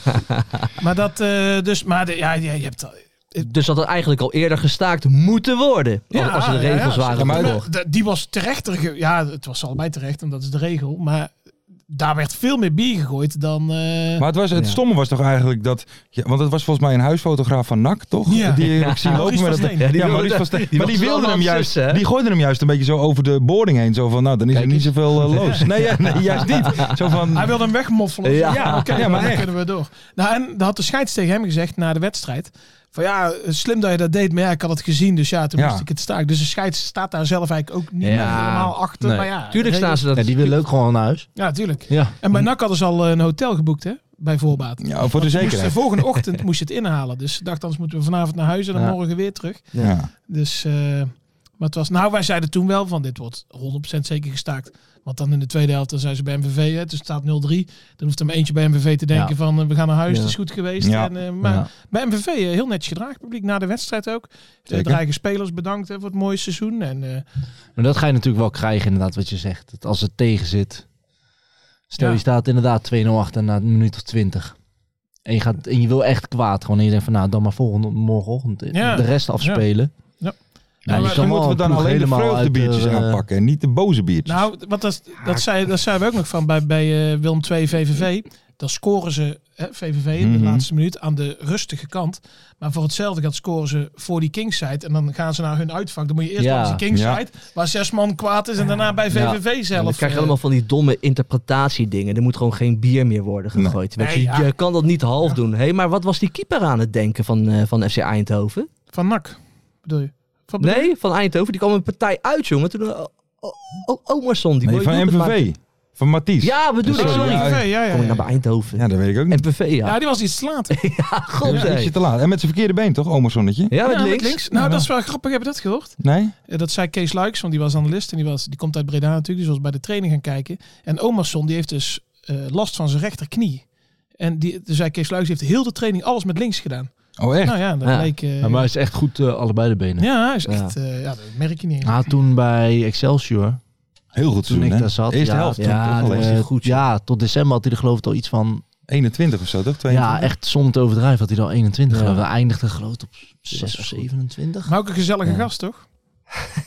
Maar dat, eh, dus, maar de, ja, je, je hebt al- Dus dat had eigenlijk al eerder gestaakt moeten worden. Ja, als de ja, ja, regels ja. waren Maar- vervolgd. de- die was terechter. ge- Ja, het was allebei terecht en dat is de regel. Maar daar werd veel meer bier gegooid dan. eh, Maar het, was, het Ja. stomme was toch eigenlijk dat... Ja, want het was volgens mij een huisfotograaf van NAC, toch? Ja. Die ik zie lopen Maurice met van dat... Steen. Ja, Ja, die wilde- Maurice van Steen. die maar was die wel wilde aan hem het juist... sussen, hè? die gooide hem juist een beetje zo over de boarding heen. Zo van, nou, dan is er niet zoveel eh, loos. Nee, ja, nee, juist niet. Zo van... Hij wilde hem wegmoffelen. Ja. ja oké, Ja, maar maar dan echt. kunnen we door. Nou, en daar had de scheids tegen hem gezegd na de wedstrijd. Van ja, slim dat je dat deed, maar ja, ik had het gezien, dus ja, toen Ja. moest ik het staken. Dus de scheids staat daar zelf eigenlijk ook niet Ja. meer helemaal achter. Nee. Maar ja, Tuurlijk staan ze dat. Ja, die willen ook gewoon naar huis. Ja, tuurlijk. Ja. En bij NAC hadden ze al eh, een hotel geboekt, hè? Bij voorbaat. Ja, voor de Moest de zekerheid. volgende ochtend moest je het inhalen. Dus ik dacht, anders moeten we vanavond naar huis en dan Ja. morgen weer terug. Ja. Dus, eh, Maar het was, nou, wij zeiden toen wel van dit wordt 100% zeker gestaakt. Want dan in de tweede helft dan zijn ze bij MVV, hè, dus het staat 0-3. Dan hoeft er maar eentje bij MVV te denken Ja. van eh, we gaan naar huis, Ja. het is goed geweest. Ja. En, eh, maar Ja. bij MVV eh, heel netjes gedragen, publiek na de wedstrijd ook. De Zeker. eigen spelers bedankt hè, voor het mooie seizoen. En, eh, Maar dat ga je natuurlijk wel krijgen, inderdaad, wat je zegt. Dat als het tegen zit. Stel, Ja. je staat inderdaad 2-0 achter na een minuut of 20. En je, gaat, en je wil echt kwaad gewoon. En je denkt van, nou, dan maar volgende, morgenochtend de- Ja. de rest afspelen. Ja. Nou, je maar kan dan moeten we wel dan een ploeg alleen de helemaal uit vreugdebiertjes eh, aanpakken en niet de boze biertjes. Nou, want dat, dat, zei, dat zeiden we ook nog van bij, bij eh, Willem II VVV. Dan scoren ze, hè, VVV, in de Mhm. laatste minuut aan de rustige kant. Maar voor hetzelfde geld scoren ze voor die kingside. En dan gaan ze naar hun uitvak. Dan moet je eerst Ja. langs die kingside, waar zes man kwaad is. En daarna bij Ja. VVV zelf. En dan krijg je eh, allemaal van die domme interpretatiedingen. Er moet gewoon geen bier meer worden gegooid. Weet je, Nee, ja. je kan dat niet half doen. Hé, maar wat was die keeper aan het denken van, eh, van FC Eindhoven? Van NAC, bedoel je? Wat bedoel Nee, van Eindhoven. Die kwam een partij uit, jongen. Toen, eh, o- o- Omerson, die nee, mooie van doelpunt maakte. MVV. Van Mathies. Ja, bedoel ik. je? Sorry. Oh, Ja, VVV, ja, ja, Kom ik ja. naar bij Eindhoven. Ja, dat weet ik ook niet. MPV, ja. Ja, die was iets te laat. God, Dus nee. ietsje te laat. En met zijn verkeerde been toch, omersonnetje? Ja, met Ja, links. Nou, Ja. dat is wel grappig. Heb je dat gehoord? Nee? Eh, Dat zei Kees Luiks, want die was analist en die, was, die komt uit Breda natuurlijk. Dus was bij de training gaan kijken. En Omerson die heeft dus eh, last van zijn rechterknie. En die, dus zei Kees Luiks, die heeft heel de training alles met links gedaan. Oh, echt? Nou ja, dat Ja. bleek... eh, Ja, maar hij is echt goed eh, allebei de benen. ja, hij is Ja. echt... eh, ja, dat merk je niet. Ah, toen bij Excelsior, Heel goed toen seizoen, ik hè? daar zat. Eerste ja, helft. toen ja, toch al eh, eens. goed, joh. ja, tot december had hij er geloof ik al iets van... 21 of zo, toch? Ja, 22? echt zonder te overdrijven had hij er al 21. Ja. Ja. We eindigden geloof ik op 6 of goed. 27. Maar ook een gezellige Ja. gast, toch?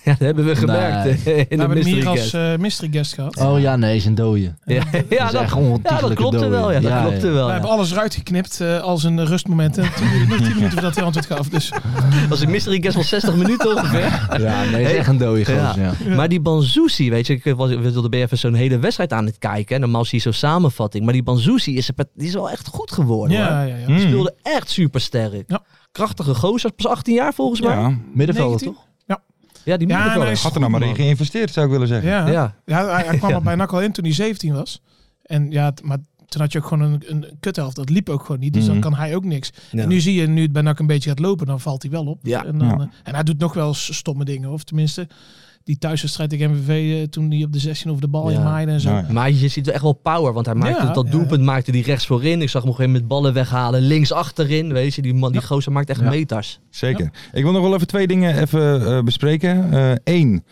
Ja, dat hebben we gemerkt. hè, In We de hebben eh, hem mystery hier als guest. eh, mystery guest gehad. Oh ja, nee, is een dode. Ja, ja, is dat, echt ja, dat ontiegelijke klopte dooi. wel. Ja, dat Ja, klopte ja. We wel. ja. hebben alles eruit geknipt eh, als een rustmoment. En toen duurde het nog 10 minuten voordat hij antwoord gaf. Dus Als een mystery guest van 60 minuten ongeveer. Ja, nee, is Hey. echt een dode gozer. Ja. Maar die Banzuzi, weet je, ik eh, was, we wilden bij even zo'n hele wedstrijd aan het kijken. En normaal zie je zo'n samenvatting. Maar die Banzuzi is, er- die is wel echt goed geworden. ja, hoor. Mm. ja, ja. Hmm. Die speelde echt supersterk. Ja. Krachtige gozer, pas 18 jaar volgens mij. Ja, Ja. Middenvelder 19? toch? die Ja, moet en hij is- Had er nou maar in geïnvesteerd, zou ik willen zeggen. Ja. Ja. Ja, hij, hij kwam Ja. er bij NAC al in toen hij 17 was. En ja, t- maar toen had je ook gewoon een, een kuthelft. Dat liep ook gewoon niet. Dus Mhm. dan kan hij ook niks. Ja. En nu zie je, nu het bij NAC een beetje gaat lopen, dan valt hij wel op. Ja. En, dan, Ja. eh, en hij doet nog wel eens stomme dingen. Of tenminste, die thuiswedstrijd tegen MVV eh, toen hij op de 16 over de bal Ja. in maaide en zo. Nou ja. Maar je ziet wel echt wel power, want hij maakte Ja, dat ja, doelpunt maakte die rechts voorin. Ik zag hem op een gegeven moment ballen weghalen, links achterin. Weet je, die, man, die gozer maakt echt Ja. meters. Zeker. Ik wil nog wel even twee dingen even, eh, bespreken. Eén,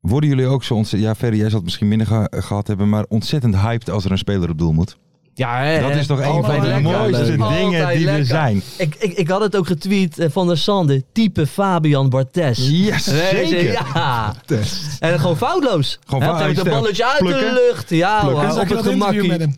worden jullie ook zo ontzettend... Ja, Ferry, jij zal het misschien minder ge- gehad hebben, maar ontzettend hyped als er een speler op doel moet. Ja, hè, Dat hè. is toch een Eh, Altijd van de lekker. mooiste Leuk. dingen Altijd die er lekker. zijn. Ik, ik, ik had het ook getweet eh, van der Sande, type Fabian Bartes. Yes, Weet je, zeker. Ja. Test. En gewoon foutloos. Gewoon Hè, foutloos. Met een balletje uit eh, Plukken. de lucht. Ja, Plukken. hoor, En zag op je het dat interview met gemakkie. hem?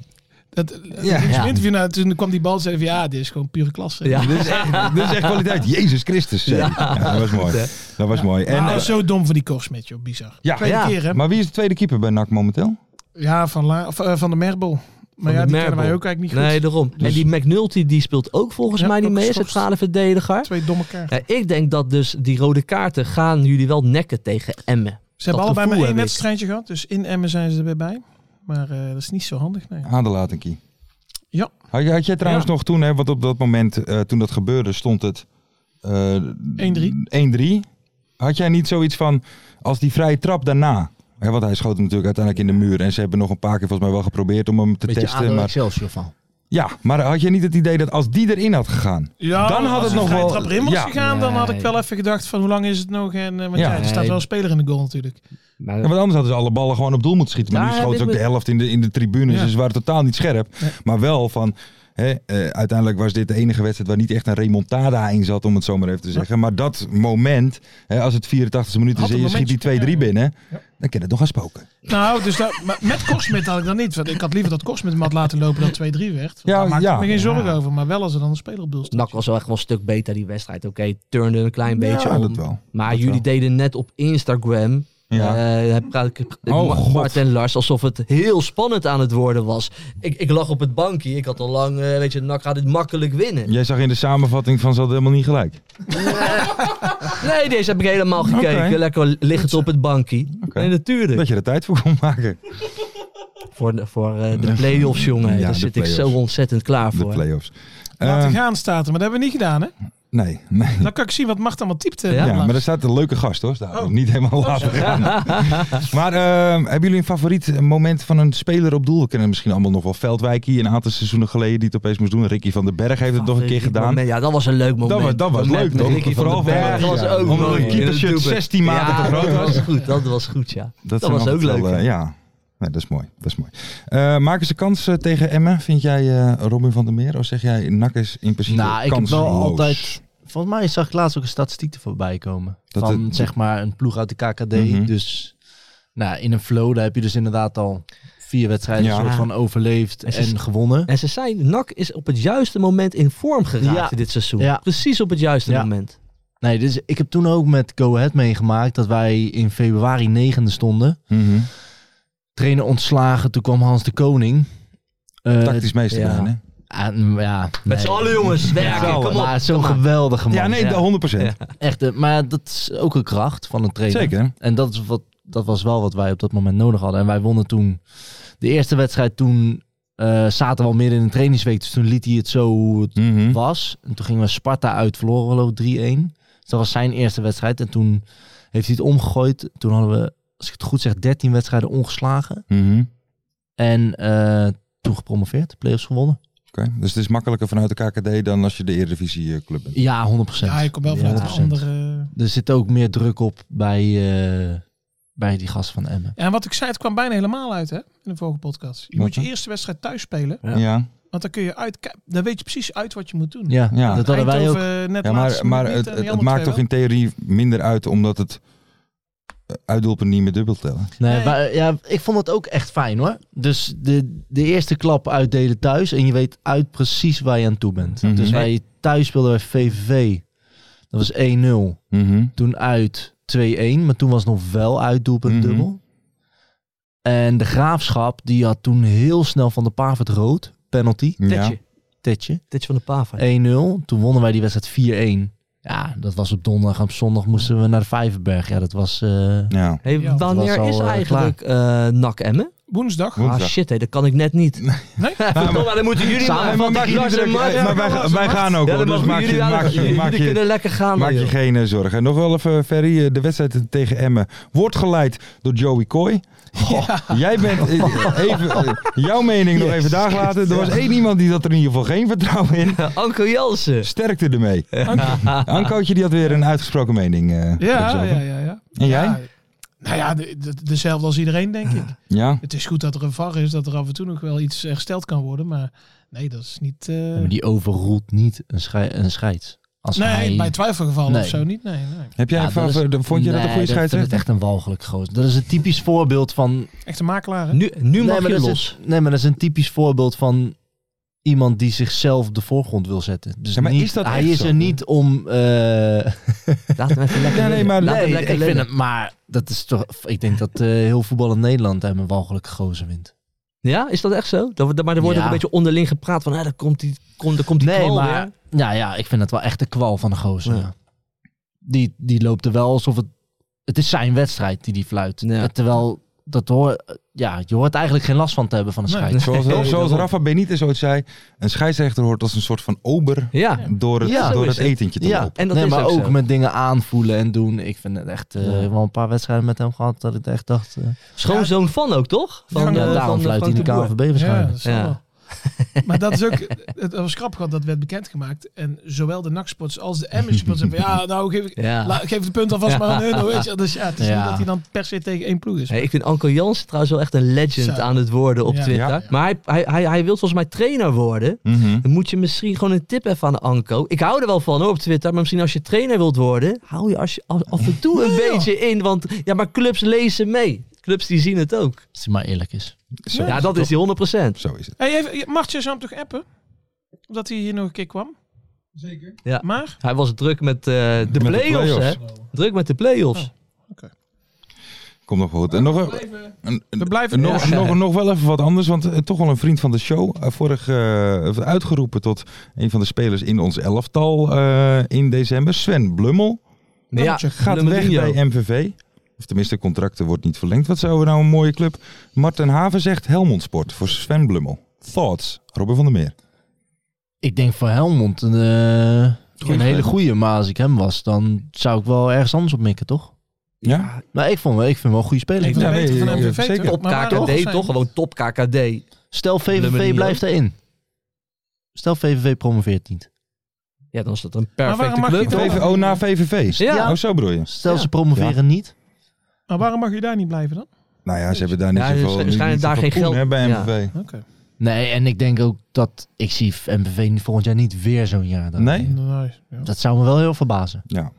Dat, Ja. dat Ja. interview, nou, toen kwam die bal en zei van, ja, dit is gewoon pure klasse. Ja. Dit is, echt, dit is echt kwaliteit. Jezus Christus. zeg. Ja, dat was mooi. Dat was mooi. En, maar eh, zo dom van die Korsmet, joh. Bizar. Ja. Tweede Ja. keer, hè? maar wie is de tweede keeper bij NAC momenteel? Ja, van, La, of, eh, van de Merbel. Maar de ja, die kennen wij Merbel. ook eigenlijk niet goed. Nee, daarom. Dus- En die McNulty die speelt ook volgens Ja, mij niet ook mee. Is geschorst. centrale verdediger. Twee domme kaarten. Ja, ik denk dat dus die rode kaarten gaan jullie wel nekken tegen Emmen. Ze hebben Dat allebei maar gevoel één heb ik. wedstrijdje gehad, dus in Emmen zijn ze erbij bij. Maar eh, dat is niet zo handig. Nee. Adelatenkie. Ja. Had, had jij trouwens nog toen, hè, want op dat moment eh, toen dat gebeurde stond het eh, 1-3. 1-3. Had jij niet zoiets van, als die vrije trap daarna... Hè, want hij schoot hem natuurlijk uiteindelijk in de muur. En ze hebben nog een paar keer volgens mij wel geprobeerd om hem te Beetje testen. ADO Maar, Excelsior van. ja, maar had jij niet het idee dat als die erin had gegaan... Ja, Dan had als het de nog vrije wel- trap erin was ja. gegaan, dan had ik wel Nee. even gedacht van hoe lang is het nog? En, eh, want Ja. ja, er staat wel een speler in de goal natuurlijk. Ja, want anders hadden ze alle ballen gewoon op doel moeten schieten. Maar Ja, nu schoten ze dit ook de moet- helft in de, in de tribunes. Nou, Ja. Dus ze waren totaal niet scherp. Maar wel van... Hè, eh, uiteindelijk was dit de enige wedstrijd waar niet echt een remontada in zat, om het zo maar even te zeggen. Maar dat moment, hè, als het 84e minuut is Had en een je schiet die 2-3 momentje, ja. binnen, dan kan het nog gaan spoken. Nou, dus dat, maar met Cosmet had ik dat niet. Want ik had liever dat Cosmet hem had laten lopen dan 2-3 werd. Ja, Ja, daar maakte ja. ik me geen zorgen over. Maar wel als er dan een speler op doel staat. Nak was wel echt wel een stuk beter die wedstrijd. Oké, turnde een klein beetje ja, om. dat wel. Maar Dat jullie wel. deden net op Instagram. Ja. eh, heb- praat ik Oh, Ma- God. Bart en Lars alsof het heel spannend aan het worden was. Ik, ik lag op het bankje. Ik had al lang, eh, weet je, NAC gaat dit makkelijk winnen. Jij zag in de samenvatting van ze hadden helemaal niet gelijk. Nee, deze heb ik helemaal gekeken. Oké. Lekker liggend op het bankje. Oké. Nee, natuurlijk. Dat je er tijd voor kon maken. Voor, de- voor eh, de play-offs, jongen. Ja, Daar de zit ik zo play-offs. ontzettend klaar De voor. play-offs. Laten Eh, gaan staat er, maar dat hebben we niet gedaan hè? Nee, nee. Dan kan ik zien wat Mart allemaal eh, typte. Ja, Ja, onlangs. maar er staat een leuke gast hoor. Staat. Niet helemaal laten gaan. maar ehm, hebben jullie een favoriet moment van een speler op doel? We kennen misschien allemaal nog wel Veldwijk hier een aantal seizoenen geleden die het opeens moest doen. Ricky van den Berg heeft het nog een keer gedaan. Ja, dat was een leuk moment. Dat was, dat was leuk toch? Vooral van van Dat was ook Omdat mooi. een keepershirt 16 maanden ja, te groot dat was. was. Goed, dat was goed, ja. Dat, zijn was ook altijd leuk. wel, eh, hè? ja, nee, dat is mooi. Dat is mooi. Eh, maken ze kans eh, tegen Emmen? Vind jij eh, Robin van der Meer? Of zeg jij Nak is in principe Nou, ik heb wel kansloos? altijd... Volgens mij zag ik laatst ook een statistiek er voorbij komen. Dat van het- zeg maar een ploeg uit de KKD. Mhm. Dus nou, in een flow, daar heb je dus inderdaad al vier wedstrijden Ja. soort van overleefd En ze- en, gewonnen. En ze zijn, NAC is op het juiste moment in vorm geraakt Ja. dit seizoen. Ja. Precies op het juiste Ja. moment. Nee, dus ik heb toen ook met Go Ahead meegemaakt dat wij in februari negende stonden. Mhm. Trainer ontslagen, toen kwam Hans de Koning. Eh, Tactisch meester ja. zijn, hè? aan- ja, Met nee. z'n allen jongens, Ja, werken, kom op. maar zo'n kom maar. geweldige man. Ja, nee, ja. 100 Echt, eh, maar dat is ook een kracht van een trainer. Zeker. En dat, is wat, dat was wel wat wij op dat moment nodig hadden. En wij wonnen toen de eerste wedstrijd. Toen eh, zaten we al midden in een trainingsweek. Dus toen liet hij het zo hoe het Mhm. was. En toen gingen we Sparta uit, verloren we geloof ik 3-1. Dus dat was zijn eerste wedstrijd. En toen heeft hij het omgegooid. Toen hadden we, als ik het goed zeg, 13 wedstrijden ongeslagen. Mhm. En eh, toen gepromoveerd, de play-offs gewonnen. Oké, dus het is makkelijker vanuit de KKD dan als je de Eredivisie eh, club bent. Ja, 100%. Ja, je komt wel vanuit een 100%. andere... Er zit ook meer druk op bij, eh, bij die gast van Emmen. Ja, en wat ik zei, het kwam bijna helemaal uit hè, in de vorige podcast. Je Wat moet je dan? eerste wedstrijd thuis spelen. Ja, ja. Want dan kun je uit, dan weet je precies uit wat je moet doen. Ja, Ja. dat hadden wij ook. Eindhoven, net maar, laatste maar minuut het, en het, die het andere maakt twee toch in theorie minder uit omdat het eh, uitdoelpunten niet meer dubbel tellen. Nee, Nee. Maar, eh, ja, ik vond het ook echt fijn hoor. Dus de, de eerste klap uitdelen thuis en je weet uit precies waar je aan toe bent. Mhm. Dus wij thuis speelden bij VVV. Dat was 1-0. Mhm. Toen uit 2-1, maar toen was nog wel uitdoelpunt Mhm. dubbel. En de Graafschap, die had toen heel snel van de Pavert rood. Penalty, Ja. Tetje, tetje. 1-0. Tetje van de Pava. Toen wonnen wij die wedstrijd 4-1. Ja, dat was op donderdag. En op zondag moesten we naar de Vijverberg. Ja, dat was... eh, ja. Hey, Ja, dat wanneer was al, is eh, eigenlijk eh NAC Emmen? Woensdag. Woensdag. Ah shit, hé, dat kan ik net niet. Nee? Verdomme, dan moeten jullie maar. Samen met Van Maak je die niet Lars druk. en Mart. Eh, maar wij, Ja, wij gaan ook dan hoor, dus mogen maak jullie je, wel- maak je, jullie maak je, kunnen lekker gaan. maak joh. je geen eh, zorgen. Nog wel even, Ferry, eh, de wedstrijd tegen Emmen wordt geleid door Joey Coy. Goh, Jij bent, eh, even, eh, jouw mening nog even daar laten. Er was één iemand die had er in ieder geval geen vertrouwen in. Anko Jansen. Sterkte ermee. Ankootje die had weer een uitgesproken mening. eh, Ja, erover. ja, ja, ja. En jij? Ja, nou ja, de, de- dezelfde als iedereen, denk ik. Ja? Het is goed dat er een VAR is, dat er af en toe nog wel iets hersteld kan worden. Maar nee, dat is niet... eh, Ja, maar die overroelt niet een, schei- een scheids. Als nee, hij... bij twijfelgevallen Nee. of zo niet. Nee, nee. Heb jij Ja, een dat is- favor- vond je dat een Nee, goede Dat scheidsrechter? is echt een walgelijk gozer. Dat is een typisch voorbeeld van... Echt een makelaar, hè? Nu, nu mag maar je dat is los. een- nee, maar dat is een typisch voorbeeld van iemand die zichzelf op de voorgrond wil zetten. Dus Ja, maar niet, is dat hij echt is zo? er niet om... eh, Laat hem even lekker Ja, nee, leren. maar Laat nee, hem ik lekker vind leren. het... Maar dat is toch... Ik denk dat eh, heel voetbal in Nederland hem een walgelijke gozer wint. Ja, is dat echt zo? Dat, we- maar er wordt Ja. ook een beetje onderling gepraat van, hè, daar komt die, kom, daar komt die nee, knal maar... weer. Nou ja, ik vind het wel echt de kwal van de gozer. Ja. ja. Die, die loopt er wel alsof het... Het is zijn wedstrijd die die fluit. Eh, Ja. Terwijl... Dat hoor, ja, je hoort eigenlijk geen last van te hebben van een Nee. scheids. Zoals, Nee, zoals daarom. Rafa Benitez ooit zei, een scheidsrechter hoort als een soort van ober Ja. door het, Ja, zo door is het het. etentje te lopen. En dat nee, is maar ook ook zo. met dingen aanvoelen en doen. Ik vind het echt eh, Ja. wel een paar wedstrijden met hem gehad dat ik echt dacht. eh, Schoonzoon van ook, toch? Van, Ja, eh, ja, van, daarom eh, fluit hij Frank de Boer. KVB Ja, waarschijnlijk. dat zal Ja. wel. Maar dat is ook, het was grappig, want dat werd bekendgemaakt. En zowel de NAC-sports als de Emmen-sports hebben, ja, nou geef, ik, Ja. la- geef het punt alvast maar aan hun. hoor, Weet je. Dus ja, het is Ja. niet dat hij dan per se tegen één ploeg is. Hey, ik vind Anko Jansen trouwens wel echt een legend Zo. aan het worden op Ja. Twitter. Ja. Maar hij, hij, hij, hij wil volgens mij trainer worden. Mhm. Dan moet je misschien gewoon een tip even aan Anko. Ik hou er wel van hoor, op Twitter. Maar misschien als je trainer wilt worden, hou je, als je af, af en toe een beetje in. Want ja, maar clubs lezen mee. Clubs die zien het ook. Als hij maar eerlijk is. Zo, Ja, dat is die 100%. zo is het. Hey, even, Martje zou hem toch appen? Omdat hij hier nog een keer kwam? Zeker. Ja. Maar? Hij was druk met eh, de de play-offs, hè? Druk met de play-offs. Komt nog wel goed. En nog, een- een- een- We blijven- nog, Ja. nog, nog wel even wat anders, want eh, toch wel een vriend van de show. eh, vorig eh, uitgeroepen tot een van de spelers in ons elftal eh, in december. Sven Blummel Maar ja, gaat Ronaldinho. weg bij MVV. Of tenminste, contracten wordt niet verlengd. Wat zouden we nou een mooie club? Marten Haven zegt Helmond Sport voor Sven Blummel. Thoughts, Robin van der Meer. Ik denk voor Helmond. eh, Een hele goede, maar als ik hem was, dan zou ik wel ergens anders op mikken, toch? Ja? Maar ik, vond, wel- ik vind hem wel een goede speler. Ik vind Ja, het beter nee, van ja, MVV. zeker. toch? Top Maar waar ook KKD zijn- toch? Gewoon top KKD. Stel VVV manier. blijft erin. Stel VVV promoveert niet. Ja, dan is dat een waarom perfecte mag je club. toch- VV, oh, na VVV. Ja. Oh, zo bedoel je. Stel ze promoveren niet. Maar waarom mag je daar niet blijven dan? Nou ja, ze hebben daar niet Ja, zoveel... dus nu waarschijnlijk niet daar zoveel geen poen, geld- hè, bij Ja. MVV. Oké. Nee, en ik denk ook dat ik zie MVV volgend jaar niet weer zo'n jaar. daar. Nee? Nou, ja. Dat zou me wel heel verbazen. Ja.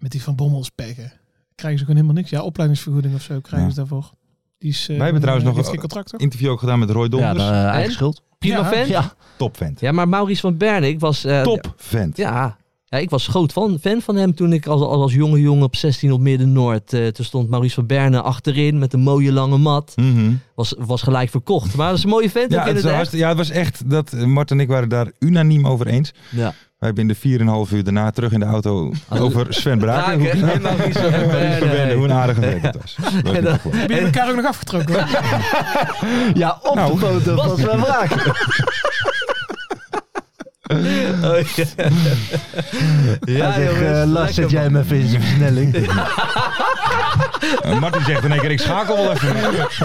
Met die Van Bommels peggen. Krijgen ze gewoon helemaal niks. Ja, opleidingsvergoeding of zo krijgen Ja. ze daarvoor. Die is, eh, Wij hebben trouwens heeft nog- geen contract toch? Interview ook gedaan met Roy Ja, Donders. dan, eh, eigen En? schuld. Prima Ja. vent. Ja. Ja, Top vent. maar Maurice van Bernik was... eh, Top vent. Ja. ja, ik was groot fan, fan van hem toen ik als, als, als jonge jongen op 16 op Midden-Noord... eh, toen stond Maurice van Berne achterin met een mooie lange mat. Mhm. Was, was gelijk verkocht. Maar dat is een mooie vent Ja, ook het in is het wel echt. hartst- ja, het was echt dat eh, Mart en ik waren daar unaniem over eens. Ja. We hebben in de 4,5 uur daarna terug in de auto over Sven Braken. Braken hoe, en Maurice van Berne. Berne, hoe een aardige vent het was. Dat was niet dat- te geloven. Hebben jullie elkaar ook nog afgetrokken? hoor? ja op Nou. de foto van Sven Braak. Oh, ja, Ja, zeg, eh, jongens, Lars, zet lekker, jij hem man. even in zijn versnelling. En Martin zegt in één keer, ik schakel wel even.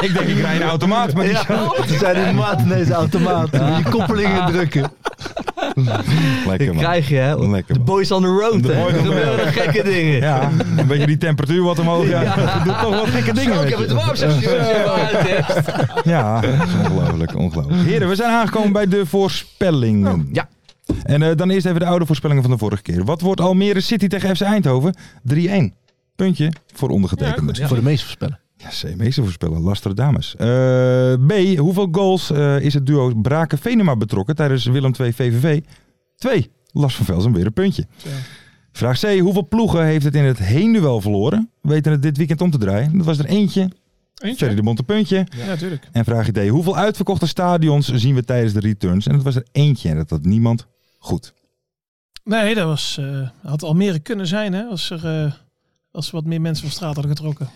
ik denk, ik rij een automaat. Maar die Ja, toen zei die maat ineens automaat. Die koppelingen drukken. Lekker Ik man. krijg je, hè? Lekker, De man. boys on the road, De hè? boys Er on the gebeuren road. gekke dingen. Ja, een beetje die temperatuur wat omhoog. Ja, dat doet toch wat gekke dingen Zo, met ik heb je. het warm, zegt hij, als je hem uit hebt. Ja, dat is ongelooflijk, ongelooflijk. Heren, we zijn aangekomen bij de voorspellingen. Oh, ja. En eh, dan eerst even de oude voorspellingen van de vorige keer. Wat wordt Almere City tegen FC Eindhoven? 3-1. Puntje voor ondergetekende. Ja, Voor de meeste voorspellen. CME's E voorspellen, lastige dames. Eh, B, hoeveel goals eh, is het duo Braken-Venema betrokken tijdens Willem 2 VVV? 2. Lars van Velsen weer een puntje. Zo. Vraag C, hoeveel ploegen heeft het in het heenduel verloren? Weten het dit weekend om te draaien? Dat was er eentje. Ferry Eentje? de Bond een puntje. Ja, natuurlijk. En vraag D, hoeveel uitverkochte stadions zien we tijdens de returns? En dat was er eentje en dat had niemand goed. Nee, dat was, eh, had Almere kunnen zijn hè, als er... eh, als wat meer mensen van straat hadden getrokken.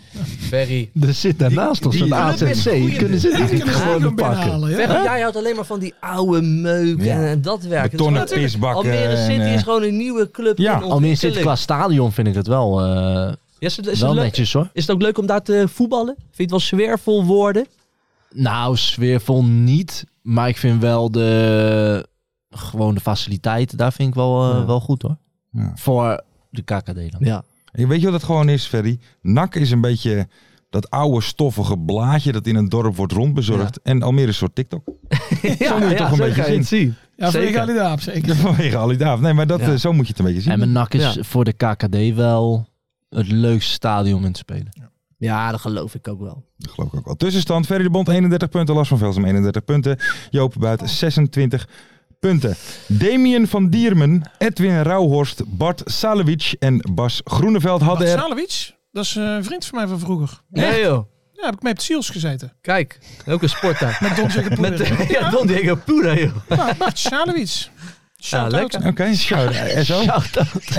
Berry. Er zit daarnaast ons een die- AZC. Kunnen ze die niet Kunnen ze gewoon gewoon pakken? binnenhalen, ja. Berry, jij houdt alleen maar van die oude meuk Ja. en, en dat werk. Betonnen Het is gewoon- pisbakken Almere en, City eh, is gewoon een nieuwe club. Ja. in Almere zit ontwikkeling. qua stadion vind ik het wel, eh, Ja, is, het, is, wel het leuk- netjes hoor. is het ook leuk om daar te voetballen? Vind je het wel sfeervol worden? Nou, sfeervol niet. Maar ik vind wel de, gewoon de faciliteiten, daar vind ik wel, eh, Ja. wel goed hoor. Ja. Voor de KKD dan. Ja. En Weet je wat het gewoon is, Ferry? NAC is een beetje dat oude stoffige blaadje dat in een dorp wordt rondbezorgd. En Almere is een soort TikTok. ja, moet je toch een beetje kan je het zien. Ja, voor Zeker. Egali Daap zeker. Vanwege Ali Daaf. Nee, maar dat, Ja. eh, zo moet je het een beetje zien. En mijn nak is Ja. voor de KKD wel het leukste stadion in te spelen. Ja, dat geloof ik ook wel. Dat geloof ik ook wel. Tussenstand, Ferry de Bond 31 punten, Lars van Velsum 31 punten, Joop Buit 26 punten. Damien van Diermen, Edwin Rauhorst, Bart Salewic en Bas Groeneveld hadden Bart er... Salovic, dat is eh, een vriend van mij van vroeger. Nee joh. Ja, heb ik mee op de Seals gezeten. Kijk, ook een sporter. Met Don Zeker Met Poeder. ja, Don Diego Pura, joh. Ja, Bart Salovic. Shout-out. lekker. Oké, shout- eh, Oh. SO.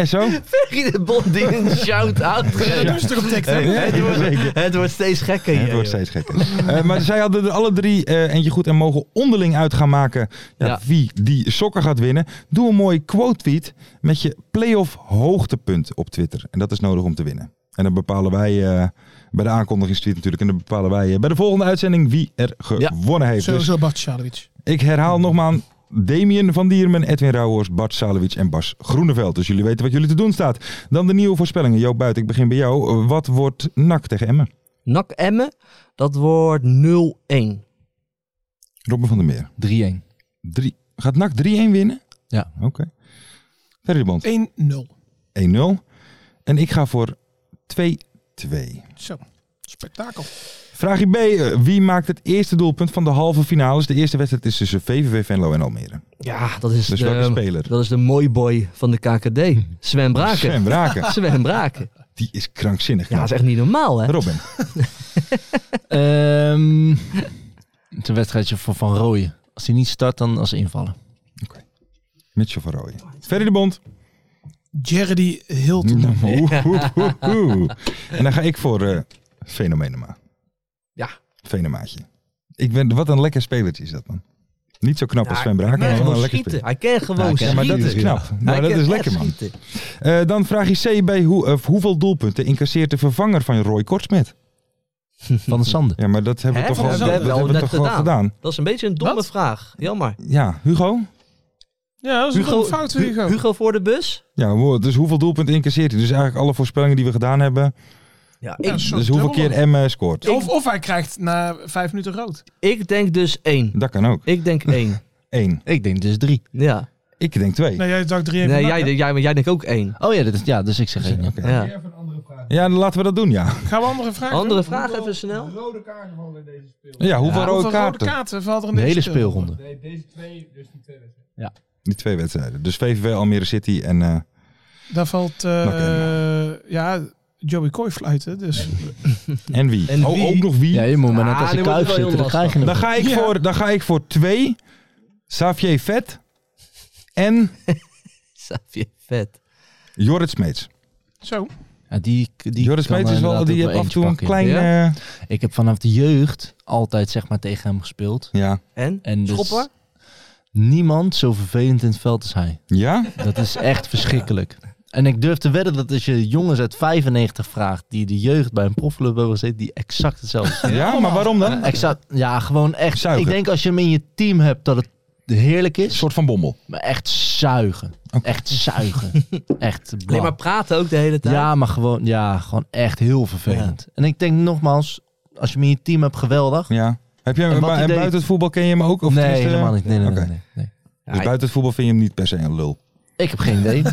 SO. Ferry de Bond die een shout-out Ja, geeft. dat is toch op TikTok? Hey, het, Zeker. wordt, het wordt steeds gekker hier. het wordt joh. steeds gekker. Eh, maar zij hadden er alle drie eh, eentje goed en mogen onderling uit gaan maken ja, Ja. wie die sokken gaat winnen. Doe een mooi quote-tweet met je playoff hoogtepunt op Twitter. En dat is nodig om te winnen. En dan bepalen wij eh, bij de aankondigingstweet natuurlijk. En dan bepalen wij eh, bij de volgende uitzending wie er Ja. gewonnen heeft. Dus Sowieso Bart Salovic. ik herhaal nogmaals. Damien van Diermen, Edwin Rauhorst, Bart Salewic en Bas Groeneveld. Dus jullie weten wat jullie te doen staat. Dan de nieuwe voorspellingen. Joop Buiten, ik begin bij jou. Wat wordt NAC tegen Emmen? NAC Emmen, dat wordt 0-1. Robben van der Meer. 3-1. Drie, gaat NAC 3-1 winnen? Ja. Oké. Verder de band 1-0. 1-0. En ik ga voor 2-2. Zo, spektakel. Vraagje B. eh, Wie maakt het eerste doelpunt van de halve finales? De eerste wedstrijd is tussen VVV Venlo en Almere. Ja, dat is, Dus welke de, ehm, speler? dat is de mooi boy van de KKD. Sven Braken. Sven Braken. Sven Braken. Die is krankzinnig. Ja, dat is echt niet normaal, hè? Robin. Ehm, het is een wedstrijdje voor Van Rooyen. Als hij niet start, dan als invallen. Mitchell van Rooyen. Verder de Bond. Jerry Hilton. Oeh, oeh, oeh, oeh. En dan ga ik voor eh Fenomenema. Ja. Fenemaatje. Ik ben, wat een lekker spelertje is dat, man. Niet zo knap als Sven Braak, Hij maar wel kan gewoon een lekker schieten. Hij kan Ja, gewoon hij kan- spel. Ja, schieten. maar dat is knap. Schieten, Nou, Hij dat kan is echt lekker, man. schieten. Eh, dan vraag je C. Bij hoe, of hoeveel doelpunten incasseert de vervanger van Roy Kortsmet? Van de Sande. Ja, maar dat hebben we Hè, toch van al, de dat Sande. hebben we Wel toch net al gedaan? Dat is een beetje een domme Wat? vraag. Jammer. Ja, Hugo? Ja, dat is een fout, Hu- Hugo. Hugo voor de bus? Ja, wow, dus hoeveel doelpunten incasseert hij? Dus eigenlijk alle voorspellingen die we gedaan hebben. Ja, Ja, ik, een soort Dus hoeveel dubbel. keer Emme scoort. Of, of hij krijgt na vijf minuten rood. ik denk dus één. Dat kan ook. Ik denk één. Eén. Ik denk dus drie. Ja. Ik denk twee. Nee, jij dacht drie Nee, jij, jij, maar jij denkt ook één. Oh ja, dat is, ja dus ik zeg één. Oké. Ja. Ja, dan laten we dat doen, ja. Gaan we andere vragen Andere doen? vraag even snel. Ja, hoeveel Ja, rode Hoeveel rode kaarten? kaarten valt er in De hele deze speel? speelronde. Die twee wedstrijden. Dus VVV, Almere City en... eh, Daar valt, eh, ja, Joey Coy fluiten. Dus en wie? En Oh, wie? ook nog wie? Ja, je moet maar net Ah, als nu je wordt het kuif wel heel zitten, dan krijg je Dan hem. ga ik, voor, dan ga ik voor twee. Xavier Vet. En Xavier Vet. Jorrit Smeets. zo. Ja, die, die Joris kan Smeets is wel, inderdaad die ook heeft af en eentje toe een pakken. klein... Ja? eh, Ik heb vanaf de jeugd altijd zeg maar tegen hem gespeeld. ja. En? En dus Schoppen? niemand zo vervelend in het veld als hij. Ja? Dat is echt verschrikkelijk. En ik durf te wedden dat als je jongens uit 95 vraagt die de jeugd bij een profclub hebben gezeten, die exact hetzelfde Ja, maar waarom dan? Een Exact, ja, gewoon echt. Zuigen. Ik denk als je hem in je team hebt dat het heerlijk is, soort van bommel. maar echt zuigen. Echt zuigen. echt blam. Nee, maar praten ook de hele tijd. Ja, maar gewoon, ja, gewoon echt heel vervelend. En ik denk nogmaals, als je hem in je team hebt, geweldig. Ja. Heb je, En en, wat hij deed- buiten het voetbal ken je hem ook? Of nee, tenminste- helemaal niet. Nee, nee, Oké. nee, nee, nee. Ja, Dus ik- buiten het voetbal vind je hem niet per se een lul. Ik heb geen idee.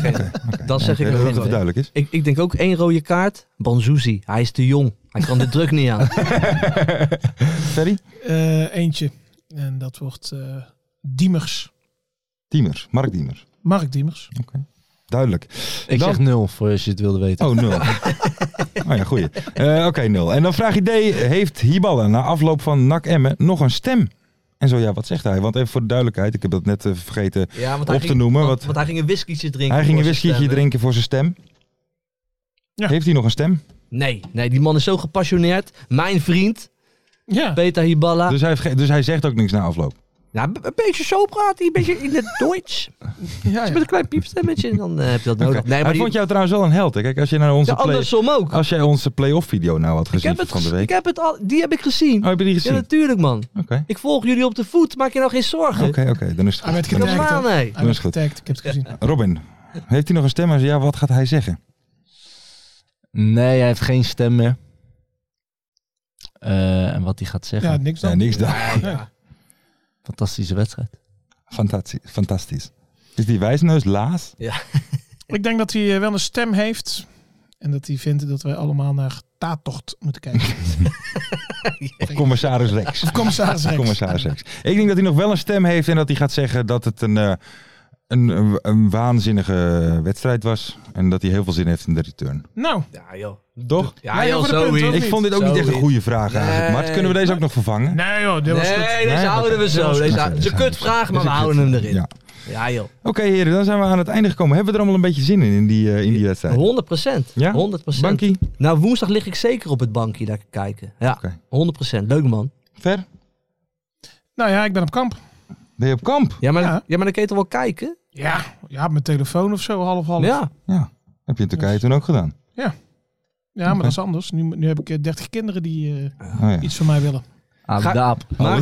Dan zeg ik Oké, nog dat het wel. duidelijk is. Ik, ik denk ook één rode kaart. Banzuzi. Hij is te jong. Hij kan de druk niet aan. Ferry? Eh, eentje. En dat wordt eh, Diemers. Diemers. Mark Diemers. Mark Diemers. Duidelijk. ik Dan- zeg nul voor als je het wilde weten. Oh, nul. oh ja, goeie. Eh, Oké, nul. En dan vraag je D, heeft Hiballa na afloop van NAC Emmen nog een stem? En zo ja, wat zegt hij? Want even voor de duidelijkheid, ik heb dat net eh, vergeten. Ja, want Op hij te ging, noemen, Want, wat- want hij ging een whiskietje drinken. Hij ging een voor zijn whiskietje stem, drinken voor zijn stem. Ja. Heeft hij nog een stem? hè? Nee, nee, die man is zo gepassioneerd. Mijn vriend, Ja. Peter Hiballa. Dus hij, heeft ge- dus hij zegt ook niks na afloop. Nou, een beetje zo praat hij, een beetje in het Duits. ja, Met ja. een klein piepstemmetje, dan eh, heb je dat nodig. Oké. hij die- vond jou trouwens wel een held. Hè? Kijk, als je naar onze Ja, play, andersom ook. als jij onze play-off video nou had ik gezien heb het, van de ges- week. ik heb het al, die heb ik gezien. Oh, heb je die ja, gezien? Oké, natuurlijk man. oké, Ik volg jullie op de voet, maak je nou geen zorgen. oké, dan is het goed. Hij werd Dan is het getagd. Normaal, hoor. nee. Hij werd goed. getagd. Ik heb het gezien. goed. Robin, heeft hij nog een stem? Als ja, wat gaat hij zeggen? Oh. Nee, hij heeft geen stem meer. Eh, en wat hij gaat zeggen. Ja, niks dan. Nee, niks daar. Fantastische wedstrijd. Fantastisch. fantastisch. Is die wijsneus Laas? Ik denk dat hij eh, wel een stem heeft. En dat hij vindt dat wij allemaal naar Taatocht moeten kijken. Of commissaris Rex? Of commissaris Rex. Commissaris Rex. Ik denk dat hij nog wel een stem heeft en dat hij gaat zeggen dat het een, eh, een, een, een waanzinnige wedstrijd was. En dat hij heel veel zin heeft in de return. Nou, Ja joh. Toch? Ja joh, joh, voor de zo punten, in. hoor. Ik vond dit ook niet echt een goede vraag eigenlijk. Maar kunnen we deze ook nog vervangen? nee joh, dit was goed. Nee, deze Nee, houden we oké. zo. Oké, Deze, deze het is houden een we kutvraag, zo. maar we Dit is een houden hem erin. Ja. Ja, joh. 100%. Oké heren, dan zijn we aan het einde gekomen. Hebben we er allemaal een beetje zin in, in die, eh, in die wedstrijd? 100%. Ja? Bankie, Nou, woensdag lig ik zeker op het bankje daar kijken. Ja, Oké. 100%. Leuk man. ver, Nou ja, ik ben op kamp. ben je op kamp? Ja maar, ja. Ja. maar dan kan je toch wel kijken? Ja, ja op mijn telefoon of zo, half half. Ja. Ja, heb je in Turkije toen ook gedaan. Ja, maar dat is anders. Nu, nu heb ik eh, 30 kinderen die eh, Oh, ja. iets van mij willen. Abu Ga- Dhabi. Maar,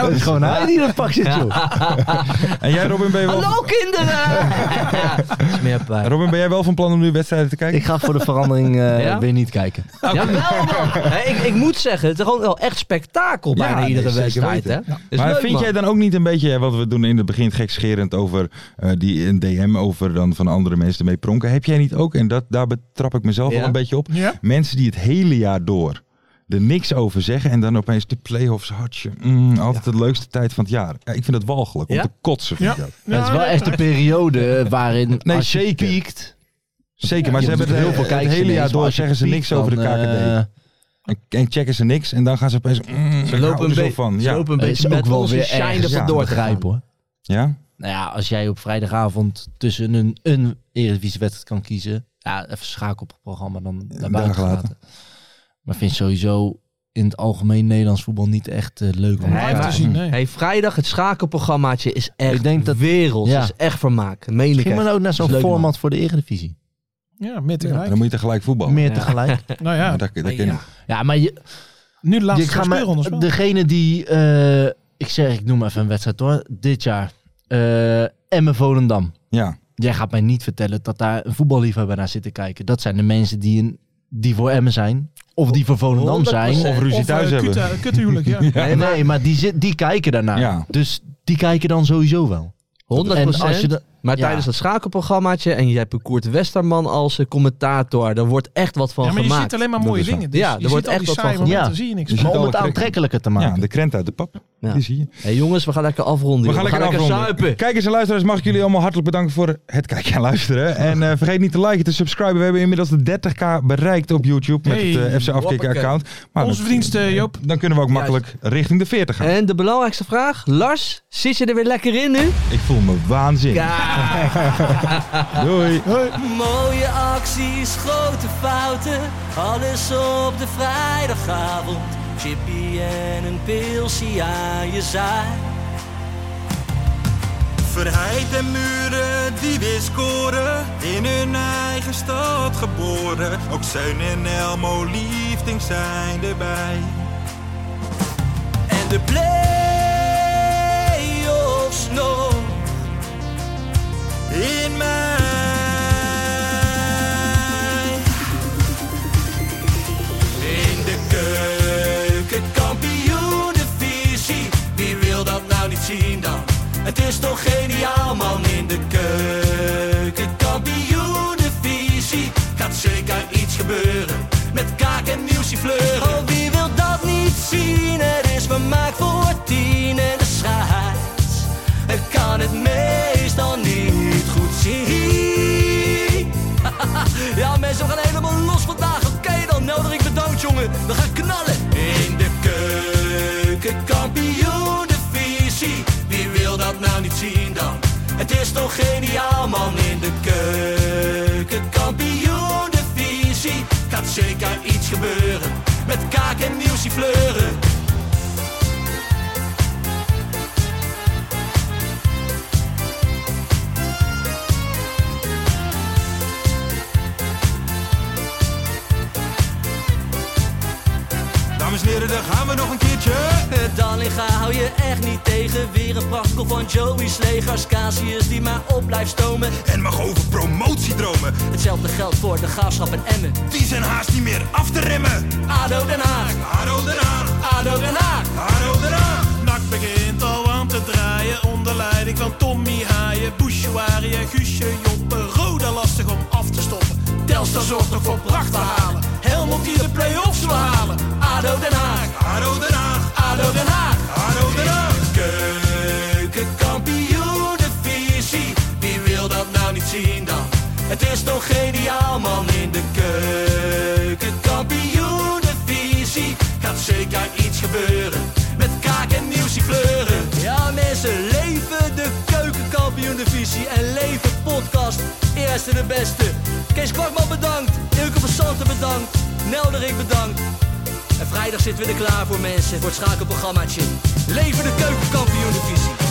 Dat is gewoon hij die in een pak zit, joh. En jij Robin, ben je wel, Hallo kinderen! Smeerpijn. Robin, ben jij wel van plan om nu wedstrijden te kijken? Ik ga voor de verandering eh, Ja? weer niet kijken. Jawel man! Hé, ik, ik moet zeggen, het is gewoon wel echt spektakel Ja, bijna nee, iedere zeker wedstrijd. Hè? weten. Is maar leuk, vind man. jij dan ook niet een beetje, hè, wat we doen in het begin gekscherend over eh, die een DM, over dan van andere mensen mee pronken. Heb jij niet ook, en dat, daar betrap ik mezelf Ja. wel een beetje op, Ja. mensen die het hele jaar door er niks over zeggen en dan opeens de play-offs hartje. Mm, altijd de leukste tijd van het jaar. Ja, ik vind het walgelijk, om Ja? te kotsen vind Ja. ik dat. Het is Nou, wel echt de periode eh, waarin Nee, als je zeker. piekt... Zeker, maar je ze hebben moet het, heel veel het kijkers hele ineens, jaar maar door als je zeggen ze piekt, niks over de dan, KKD. eh, en, en checken ze niks en dan gaan ze opeens... mm, Ze ik hou lopen een, er zo be- van. ze Ja. lopen een beetje Eh, is met ook wel onze weer shine ergens er ja, vandoor te gaan. begrijpen, hoor. ja? Nou ja, als jij op vrijdagavond tussen een, een Eredivisie-wedstrijd kan kiezen... Ja, even schakel op het programma, dan naar dagen buiten later. laten. Maar ik vind sowieso in het algemeen Nederlands voetbal niet echt eh, leuk. om Nee, elkaar Live maar- te zien, nee. Hey, vrijdag, het schakelprogrammaatje is echt Ik denk dat- werelds. ja. is echt vermaak. Dat Meen ik Misschien echt. maar ook naar zo'n Is leuk, man. format voor de Eredivisie. Ja, meer tegelijk. Dan moet je tegelijk voetballen. Meer Ja. tegelijk. Nou ja, Maar dat, dat kan niet. Ja, maar je, nu de je laatste gaat speelrondes maar, wel. degene die, eh, ik zeg, ik noem even een wedstrijd hoor, dit jaar. eh Emmen Volendam. Ja. Jij gaat mij niet vertellen dat daar een voetballiefhebber naar zit te kijken. Dat zijn de mensen die, een, die voor Emmen zijn. Of die voor Volendam zijn. 100%. Of ruzie eh, thuis kutte- hebben. kuttenhuwelijk, ja. ja. Nee, maar, die, zit, die kijken daarnaar. Ja. Dus die kijken dan sowieso wel. 100 En als je da- Maar Ja. tijdens dat schakelprogrammaatje en je hebt Koert Westerman als eh, commentator, daar wordt echt wat van maar je gemaakt. ziet alleen maar Dat mooie is waar. dingen. Dus Ja, er je wordt ziet al echt die wat van saaie momenten, gemaakt. daar zie je niks Ja. van. maar om het alle aantrekkelijker te ja, maken. de krent uit de pap. Ja. Die zie je. Hey, jongens, we gaan lekker afronden. We joh. gaan lekker afronden. zuipen. Kijkers en luisteraars, mag ik jullie allemaal hartelijk bedanken voor het kijken en luisteren. En eh, vergeet niet te liken, te subscriben. We hebben inmiddels de 30k bereikt op YouTube met Hey, het eh, FC Afkikken account. Maar Onze dat- verdiensten, Joop. Dan kunnen we ook makkelijk richting de 40 gaan. En de belangrijkste vraag, Lars, zit je er weer lekker in nu? Ik voel me waanzinnig. Doei. Mooie acties, grote fouten, alles op de vrijdagavond. Chippy en een pilsie aan je zaai. Verheid en muren die weer scoren, in hun eigen stad geboren. Ook Zijn en Elmo liefdings zijn erbij. En de play-offs nog In mij. in de keuken, kampioen de visie. Wie wil dat nou niet zien dan? Het is toch geniaal man in de keuken, kampioen de visie. Gaat zeker iets gebeuren met kaak en nieuwsie fleuren. Oh, wie wil dat niet zien? Het is vermaakt voor tien en de scheids. Ik kan het meestal niet goed zien. Ja, mensen, we gaan helemaal los vandaag. Oké, dan nodig ik bedankt, jongen. We gaan knallen. In de keuken, kampioen, de visie. Wie wil dat nou niet zien dan? Het is toch geniaal, man. In de keuken, kampioen, de visie. Gaat zeker iets gebeuren. Met kaak en nieuwsie fleuren. Dames en heren, daar gaan we nog een keertje. Het Dallinga hou je echt niet tegen. Weer een prachtkel van Joey's legers. Casius die maar op blijft stomen. En mag over promotiedromen. Hetzelfde geldt voor de gaafschap en Emmen. Die zijn haast niet meer af te remmen. ADO Den Haag, Haro eraan, ADO Den Haag. haro eraan. Nak begint al aan te draaien onder leiding van Tommy Haaien, Bouchouari en Guusje Joppen. Roda lastig om af te stoppen. Telstar zorgt nog voor pracht te halen. Helmond die de play-offs wil halen. ADO Den Haag. ADO Den Haag. ADO Den Haag. ADO Den Haag. Keukenkampioen de visie. Wie wil dat nou niet zien dan? Het is toch geniaal man in de keukenkampioen de visie. Gaat zeker iets gebeuren. Met kaak en nieuwsie fleuren. Ja mensen, leven de keukenkampioen divisie. En leven podcast. Eerste de beste. Kees Kwakman bedankt. Ilke van Santen bedankt. Nelderik bedankt. En vrijdag zitten we er klaar voor mensen. Voor het schakelprogrammaatje. Leven de keukenkampioen divisie.